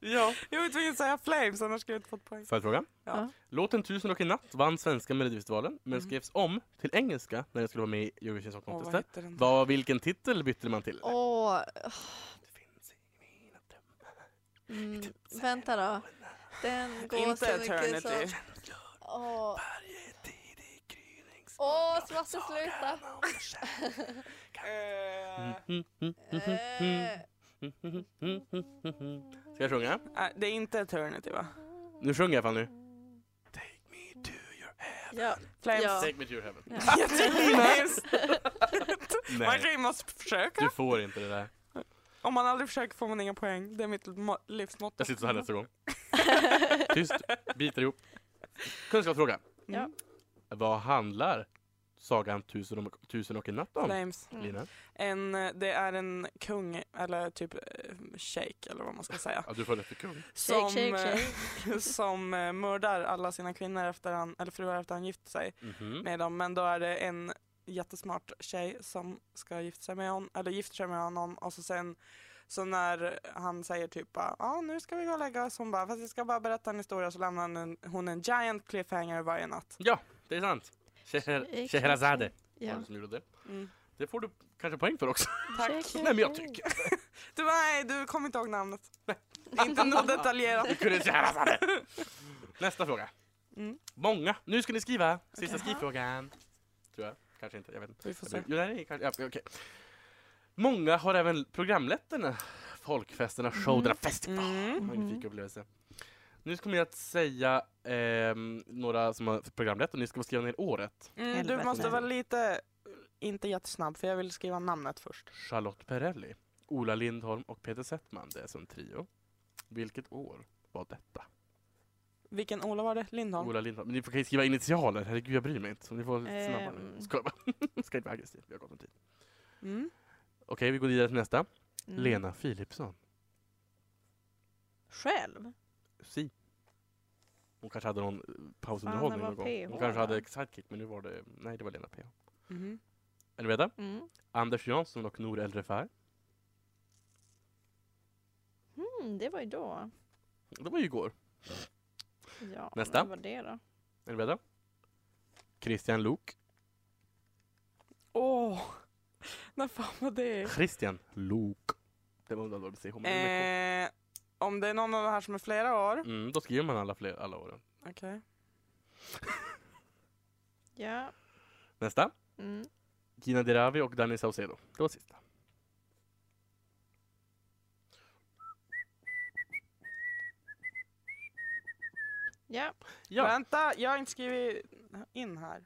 B: Ja.
C: Jag var tvungen att säga Flames, annars skulle jag inte fått poäng.
B: Följdfråga.
C: Ja.
B: Låten Tusen och en natt vann svenska melodifestivalen men skrevs om till engelska när den skulle vara med i Eurovision Song
C: Åh,
B: Contest.
C: vad hette den?
B: Vad, vilken titel bytte man till?
D: Åh,
B: Det finns ingen i mina drömmar.
D: mm, vänta då. Den går
C: Inte
D: så mycket så...
C: Eternity.
D: Åh,
B: Varje tid i gryning
D: Åh, Svante sluta!
C: Eh,
D: Eh,
B: Ska jag sjunga?
C: nej, det är inte Eternity va?
B: Nu sjunger jag fan nu. Take me to your heaven.
D: ja.
C: Flames.
D: Ja.
B: Take me to your heaven.
C: <laughs> Jag tycker Flames. Man kan
B: Nej,
C: ju måste försöka.
B: du får inte det där.
C: Om man aldrig försöker får man inga poäng. Det är mitt mo- livsmotto.
B: Jag sitter så här nästa gång. Tyst, biter ihop. Kunskapsfråga.
D: Ja.
B: Vad handlar sagan Tusen och, Tusen och en natt om?
C: Flames.
D: Mm.
B: Lina?
C: En, eh, det är en kung, eller typ eh, shejk eller vad man ska säga.
B: Ja, du får rätt för kung.
D: Shake,
C: Som,
D: shake,
C: eh,
D: shake.
C: <laughs> som eh, mördar alla sina kvinnor efter han, eller fruar efter han gift sig
B: Mhm.
C: med dem. Men då är det en jättesmart tjej som ska gifta sig med honom, eller gifter sig med honom och så sen så när han säger typ bara, ja nu ska vi gå och lägga oss, hon bara fast jag ska bara berätta en historia så lämnar hon en, hon en giant cliffhanger varje natt.
B: Ja, det är sant. Sheher-
D: Shake,
B: Scheherazade
D: shake,
B: var
D: Ja.
B: det som gjorde det.
C: Mm.
B: Det får du kanske poäng för också.
C: Tack.
D: Shake, shake,
B: <laughs> Nej, men jag
D: shake.
B: tycker...
C: Du bara, nej du kommer inte ihåg namnet. <laughs>
B: <laughs>
C: inte något detaljerat.
B: Vi kunde inte göra det. Nästa fråga.
C: Mm.
B: Många. Nu ska ni skriva. Sista skrivfrågan. Tror jag. Kanske inte. Jag vet inte.
C: Vi får se.
B: Jo, nej, kanske. Ja, okej. Många har även programlett den här folkfesterna, showerna, festival.
C: Mm.
B: Magnifik upplevelse. Nu kommer jag att säga ehm, några som har programlett och ni ska få skriva ner året.
C: Mm, du
A: Helvete.
C: måste vara lite, inte jättesnabb för jag vill skriva namnet först.
B: Charlotte Perrelli, Ola Lindholm och Peter Settman. Det är som trio. Vilket år var detta?
C: Vilken Ola var det? Lindholm?
B: Ola Lindholm. Men ni får kan ju skriva initialer, herregud jag bryr mig inte. Så ni får vara snabba nu.
D: Ehm.
B: Skoja bara. <laughs> Ska inte vara aggressiv, vi har gott om tid.
C: Mm.
B: Okej, vi går vidare till nästa.
D: Mm.
B: Lena Philipsson.
D: Själv?
B: Si. Hon kanske hade någon eh,
D: Fan,
B: pausunderhållning
D: det var
B: någon gång.
D: PH,
B: Hon kanske
D: va?
B: hade sidekick, men nu var det... Nej, det var Lena PH.
C: Mhm.
B: Är ni beredda?
D: Mm.
B: Anders Jansson och Nour El Refai.
D: Mm, det var ju då.
B: Det var ju igår.
D: Ja,
B: Nästa.
D: Nästa. Vad var det då?
B: Är ni beredda? Christian Lok.
C: Åh, när fan var det?
B: Christian Lok. Det var undrar vad du säger. Eh.
C: Eh, om det är någon av de här som är flera år.
B: Mm, då skriver man alla, fler, alla åren.
C: Okej.
D: Ja.
B: Nästa.
D: Mm.
B: Gina Dirawi och Danny Saucedo. Det var sista.
D: Ja.
B: Ja.
C: Vänta, jag har inte skrivit in här.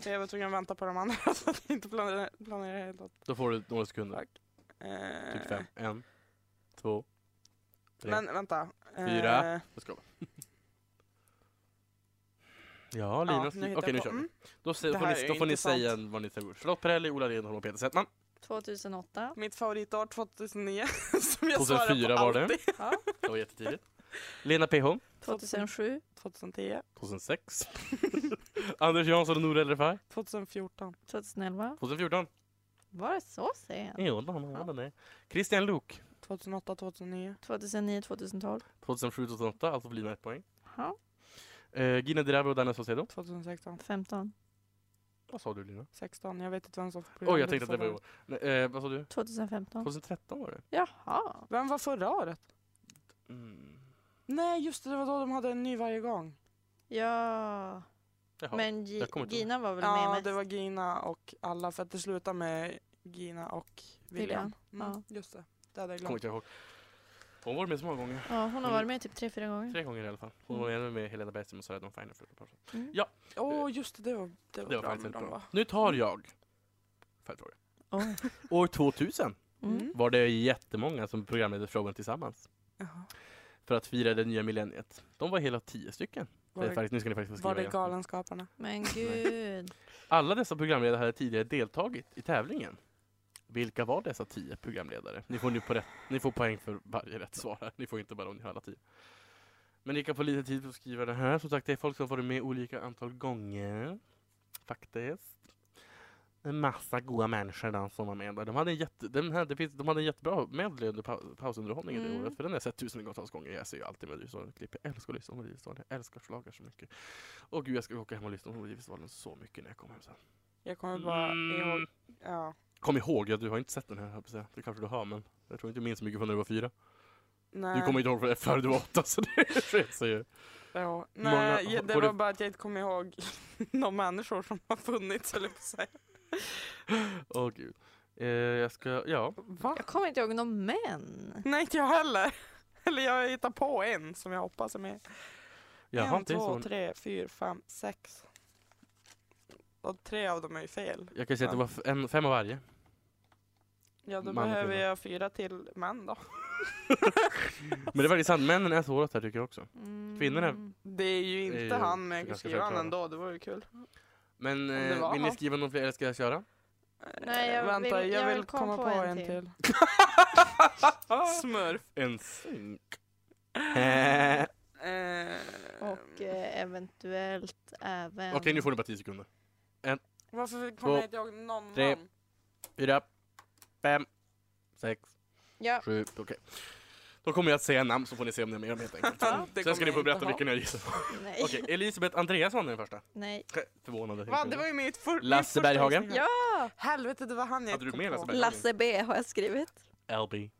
C: Så jag var tvungen att vänta på de andra <laughs> så att jag inte planerar, planerar helt åt.
B: Då får du några sekunder.
C: Eh,
B: Typ fem. En, två, tre.
C: Men vänta. Eh,
B: Fyra. Då ska vi. Ja, Lina.
C: ja, nu
B: Okej,
C: hittar jag
B: nu
C: på.
B: kör vi.
C: Mm.
B: Då, se,
C: Det
B: får
C: här är
B: ni,
C: ju
B: då får ni
C: intressant.
B: säga vad ni tror. Charlotte Perrelli, Ola Lindholm och Peter Settman.
D: 2008.
C: Mitt favoritår 2009. <laughs> som
B: 2004
C: jag svarar på
B: var det.
C: alltid.
D: <laughs> Ja.
B: Det var jättetidigt. Lena PH,
D: 2007.
C: 2010.
B: 2006. <laughs> Anders Jansson och Nour El Refai,
C: 2014.
D: 2011.
B: 2014.
D: Var det så sent?
B: Jo, då har man- den är. Christian Luuk,
C: 2008, 2009.
D: 2009, 2012.
B: 2007, 2008. Alltså blir det ett poäng.
D: Ja.
B: Eh, Gina Dirawi och Danne Saucedo.
C: 2016.
D: 15.
B: Vad sa du Lina?
C: 16. Jag vet inte vem som får
B: Oj, jag tänkte att det var i år. Nej, Eh, vad sa du?
D: 2015.
B: 2013 var det.
D: Jaha.
C: Vem var förra året?
B: Mm.
C: Nej, just det. Det var då de hade en ny varje gång.
D: Ja.
B: Jaha.
D: Men Gi-
B: jag kommer inte ihåg.
D: Gina var väl med
C: Ja,
D: mest?
C: det var Gina och alla för att det slutade med Gina och William.
D: William,
C: Mm, just det. Det hade jag
B: Kommer
C: glömt.
B: inte jag ihåg. Hon var med så många gånger.
D: ja, hon har varit med typ tre, fyra gånger.
B: Tre gånger i alla fall. Hon var
C: Mm.
B: även med Helena Bergström och Sara Dawn Finer för ett par år sedan.
D: Mm.
C: Åh, just det. Det var, det var,
B: Det var
C: bra
B: faktiskt
C: med
B: väldigt
C: dem,
B: bra.
C: va?
B: Nu tar jag följdfrågan.
D: Oj.
B: År 2000
D: Mm.
B: var det jättemånga som programledde showen tillsammans
C: Jaha.
B: för att fira det nya millenniet. De var hela tio stycken.
C: Var
B: Det är
C: det,
B: faktiskt, nu ska ni faktiskt få skriva
C: var det
B: igen.
C: Galenskaparna?
D: Men gud.
B: Alla dessa programledare hade tidigare deltagit i tävlingen. Vilka var dessa tio programledare? Ni får, nu på rätt, ni får poäng för varje rätt svar. här. Ni får inte bara om ni har alla tio. Men ni kan få lite tid för att skriva det här. Som sagt, det är folk som har varit med olika antal gånger. Faktiskt. en massa goa människor där som var med där. De hade en, jätte, den här, det finns, de hade en jättebra medley under pa, pausunderhållningen det
D: Mm.
B: året. För den har jag sett tusentals gånger. Jag ser ju alltid Melodifestivalen-klipp. Jag älskar att lyssna på Melodifestivalen. Jag älskar schlager så mycket. Och gud, jag ska åka hem och lyssna på Melodifestivalen så mycket när jag kommer hem sen.
C: Jag kommer bara ihåg...
B: Mm.
C: Ja.
B: Kom ihåg, ja, du har inte sett den här, höll jag på att säga. Det kanske du har, men jag tror inte du minns så mycket från när du var fyra.
C: Nej.
B: Du kommer inte ihåg från före du var åtta, så det sket sig ju.
C: Ja.
B: Många-
C: Nej, ja, det
B: och det-
C: var bara att jag inte kom ihåg <laughs> de människor som har funnits, eller på att säga.
B: Åh gud. Eh, jag ska, ja.
C: Va?
D: Jag kommer inte ihåg någon män.
C: Nej, inte jag heller. <laughs> Eller jag hittar på en som jag hoppas är med.
B: Jag har
C: en,
B: inte
C: två,
B: så.
C: tre, fyra, fem, sex. Och tre av dem är ju fel.
B: Jag kan säga att det var f- en, fem av
C: <laughs>
B: varje.
C: Ja, då
B: Man och
C: behöver
B: kvinna.
C: jag fyra till män då.
B: Men det är väldigt sant, männen är svåra här tycker jag också.
D: Mm.
B: Kvinnorna-
C: Det är ju inte
B: Det är ju
C: han, men jag kan
B: ganska
C: skriva han
B: självklart.
C: ändå. Det vore ju kul.
B: Men
C: det
B: eh,
C: var
B: vill ni
C: han.
B: skriva någon fler eller ska jag köra?
D: Nej,
C: Eh,
D: jag
C: Vänta,
D: vill-
C: jag,
D: jag
C: vill,
D: vill
C: komma på, en till. <laughs> Smurf.
B: En
C: <laughs>
B: synk.
C: Eh,
D: Och eh, eventuellt även...
B: Okej, nu får ni bara 10 sekunder.
C: varför
B: två,
C: kommer jag inte ihåg någon
B: tre.
C: man?
B: Fyra, fem, sex,
D: Ja.
B: sju, okej. Då kommer jag att säga namn så får ni se om ni är med dem helt enkelt.
C: Ja, <laughs> det
B: Sen
C: kommer
B: ska ni
C: jag
B: få
C: inte
B: berätta
C: ha.
B: vilken jag gissar på.
D: Nej.
B: Okej,
C: <laughs>
B: Elisabeth Andreasson är den första.
D: Nej.
B: Förvånande.
C: Va, det var ju mitt för,
B: Lasse
C: mitt första
B: Berghagen.
C: gissning.
D: Ja!
C: Helvete, det var han jag
B: Hade du
C: kom
B: med
C: på.
B: Lasse Berghagen?
D: Lasse B har jag skrivit.
B: LB.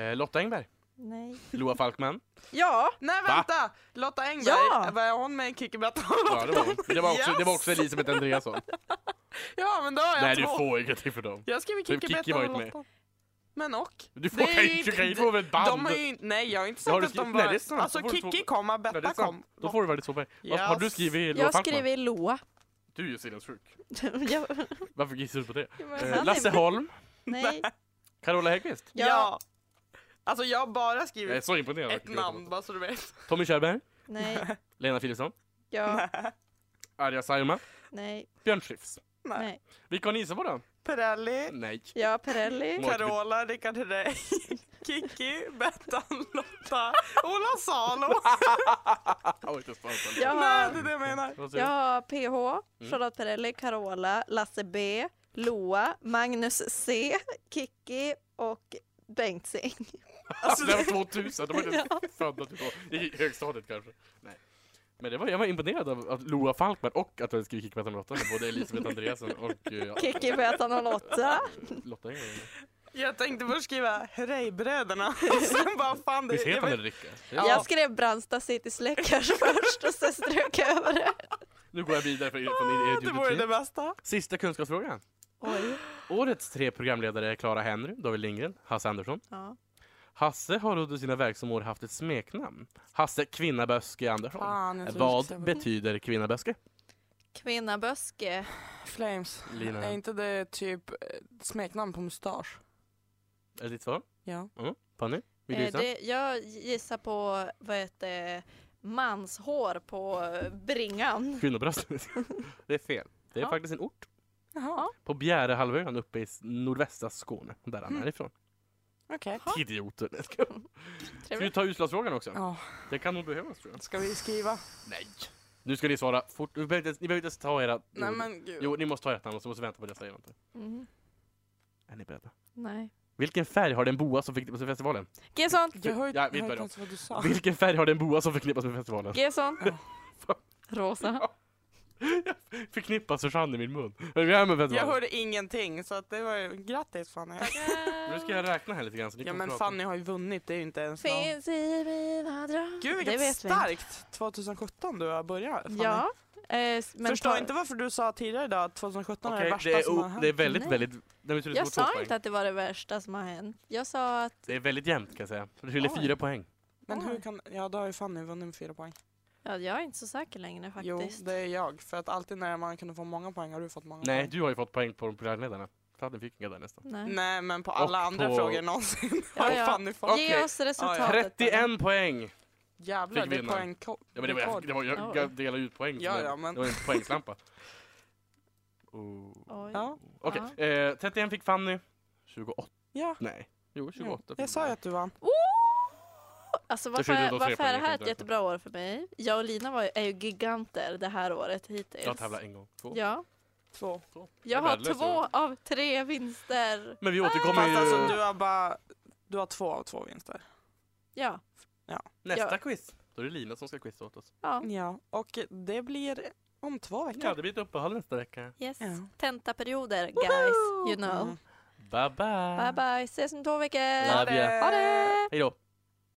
B: Eh, Lotta Engberg.
D: Nej.
B: Loa
C: <laughs>
B: Falkman.
D: Ja!
C: Nej
B: Va?
C: vänta! Lotta Engberg,
D: Ja!
C: var hon med i Kickerbett?
B: Ja, det var hon. Det var också, det var också Elisabeth
C: <laughs>
B: Andreasson.
C: ja men då har jag
B: Nej, du
C: två.
B: får ingenting för dem.
C: Jag skrev
B: Typ
C: Kickerbett
B: Kikki var inte med.
C: Men och?
B: Du
C: Det
B: får,
C: är
B: kan ju
C: ju
B: inte- du kan ju
C: inte-
B: inte få med ett band.
C: De har ju inte, nej jag har inte sagt
B: har du
C: att de
B: skrivit-
C: var...
B: nej, det är sant.
C: alltså
B: Då får du
C: Kikki
B: två-
C: kom, och
B: Nej, det är
C: Betta
B: sant.
C: kom.
B: Då får du väldigt sova. Vad- Har
C: Yes.
B: du skrivit Loa
D: Jag
B: Falkman?
D: skriver Loa. <laughs>
B: Du är ju sinnessjuk.
D: Jag-
B: Varför gissar du på det?
D: men han
B: Eh,
D: är-
B: Lasse Holm,
D: Nej.
B: Carola Häggkvist.
D: Ja.
C: Ja. Alltså jag har bara
B: Jag är
C: skrivit
B: så imponerad.
C: ett namn bara så du vet.
B: Tommy Körberg,
D: Nej.
B: Lena Philipsson,
D: Ja.
B: Arja Saijonmaa,
D: Nej.
B: Björn Skifs.
C: Nej.
D: Nej.
B: Vilka har ni gissat på då?
C: Perrelli,
B: Nej.
D: Ja, Perrelli.
B: Må- Målkvitt-
C: Carola, Rickard Herrey, <laughs> Kikki, Bettan, Lotta, Ola <laughs> Salo.
B: Jag har inte sparat
D: Jag
C: Nej det
D: har,
C: är det jag menar.
B: Vad säger
D: jag
B: du?
D: har PH, Charlotte Perrelli, Carola, Lasse B, Loa, Magnus C, Kikki och Bengtzing.
B: Alltså, det var 2000, de var inte
D: <laughs> Ja.
B: ens födda typ då. i högstadiet kanske. Nej. Men det var, jag var imponerad av att Loa Falkman och att du hade skrivit Kickback med Lotta, både Elisabeth Andreasen och eh, ja,
D: <laughs> Kikki Betan 08.
B: Lotta Engberg.
C: Jag tänkte först skriva <laughs> Herreybröderna och sen bara fan det
B: Visst heter
C: jag
B: han
C: vet-
B: Ulrika?
D: Jag skrev Brandsta City Släckers <laughs> först och sen strök jag över det.
B: Nu går jag vidare från
C: Ah, Det vore
B: idioti.
C: det bästa.
B: Sista kunskapsfrågan.
D: Oj.
B: Årets tre programledare är Clara Henry, David Lindgren, Hasse Andersson.
D: Ja.
B: Hasse har under sina verksamma år haft ett smeknamn. Hasse Kvinnaböske Andersson. Vad betyder kvinnaböske?
D: Kvinnaböske.
C: Flames?
B: Lina.
C: Är inte det typ eh, smeknamn på mustasch?
B: Är det ditt svar?
C: Ja.
B: Fanny? Vill du
D: Eh,
B: gissa?
D: det, jag gissar på vad heter det, manshår på eh, bringan.
B: Kvinnobröst? <laughs> det är fel. Det är
D: Ja.
B: faktiskt en ort.
C: Jaha,
B: På Bjärehalvön uppe i s- nordvästra Skåne, där
C: Mm.
B: han är ifrån.
C: okej. <laughs>
B: Idioter! Nej, jag skojar. Ska vi
D: Trevligt.
B: ta utslagsfrågan också?
C: Ja.
B: Det kan nog behövas tror jag.
C: Ska vi skriva?
B: Nej! Nu ska ni svara fort. Ni behöver inte ens, ni behöver inte ens ta era...
C: Nej
B: jo,
C: men gud.
B: jo, ni måste ta ert namn och så måste vi vänta på det jag säger. Vänta.
D: Mm.
B: Är ni beredda?
D: Nej.
B: Vilken färg har den boa som förknippas med festivalen?
D: Gesson!
C: Jag hör
B: Ja,
C: jag
B: vet
C: hör
B: vad
C: inte
B: jag-
C: ens vad du sa.
B: Vilken färg har den boa som förknippas med festivalen?
D: Gesson!
B: Fan.
D: Rosa.
B: Förknippas för fan i min mun. Hur är det med
C: Jag
B: festivalen?
C: hörde ingenting så att det var ju grattis Fanny.
B: Nu ska jag räkna här lite grann så ni
C: Ja
B: kan
C: men
B: prata.
C: Fanny har ju vunnit, det är ju inte ens någon...
D: Finns i mina drömmar.
C: Gud
D: Det
C: vilket
D: vet vi.
C: starkt 2017 du har börjat Fanny.
D: Ja. Eh, s- men
C: Förstår
D: ta-
C: inte varför du sa tidigare idag att 2017 är
B: Okej,
C: det värsta
B: det, är,
C: som har
B: o-
C: hänt.
B: det är väldigt,
D: Nej.
B: väldigt... Nej, men jag tror det
D: Jag
B: står två
D: sa
B: poäng.
D: inte att det var det värsta som har hänt. Jag sa att...
B: Det är väldigt jämnt kan jag säga. Det skiljer
D: Oj.
B: fyra poäng.
C: Men hur
D: Oj.
C: kan, ja då har ju Fanny vunnit med fyra poäng.
D: Ja, jag är inte så säker längre faktiskt.
C: Jo, det är jag. För att alltid när man kunde få många poäng har du fått många
B: Nej,
C: poäng.
B: du har ju fått poäng på de programledarna. Fanny fick inga där nästan.
D: Nej.
C: Nej, men på alla
B: Och
C: andra
B: på-
C: frågor någonsin har
D: Ja, ja.
C: Fanny fått.
B: Okej.
D: Ge oss resultatet. bara.
B: 31 poäng!
C: Jävlar,
B: Fick
C: det är
B: vinna.
C: poäng. ko-
B: Ja, men det var,
C: rekord.
B: det var, jag, jag delade ut poäng. så
C: Ja,
B: det-
C: ja, men-
B: Det var en poängslampa. Oh.
D: Oj.
C: Ja,
B: Okej, eh, 31 fick Fanny. 28?
C: ja.
B: Nej. Jo, 28.
C: ja.
B: fick
C: Jag sa ju
B: Fanny.
C: att du vann.
D: Alltså
B: Det skiljer
D: varför,
B: då tre
D: varför är
B: poäng,
D: det här
B: jag
D: ett
B: tänkte.
D: jättebra år för mig? Jag och Lina var ju, är ju giganter det här året hittills.
B: Jag tävlade en gång. Två.
D: Ja,
C: Två.
D: Jag
B: Det är
D: har
B: värdelöst,
D: två av tre vinster.
B: Men vi återkommer ju
C: Fast alltså du har bara, du har två av två vinster.
D: Ja.
B: nästa
D: ja.
B: quiz. Då är det Lina som ska quizza åt oss.
D: ja.
C: Ja, och det blir om två veckor.
B: Ja, det blir ett uppehåll nästa vecka.
D: Yes.
C: Ja.
D: Tentaperioder, guys. You know.
C: Mm.
B: Bye bye! Mm.
D: Bye bye. Ses om två veckor.
B: Love you.
D: Ha det!
B: Hej då!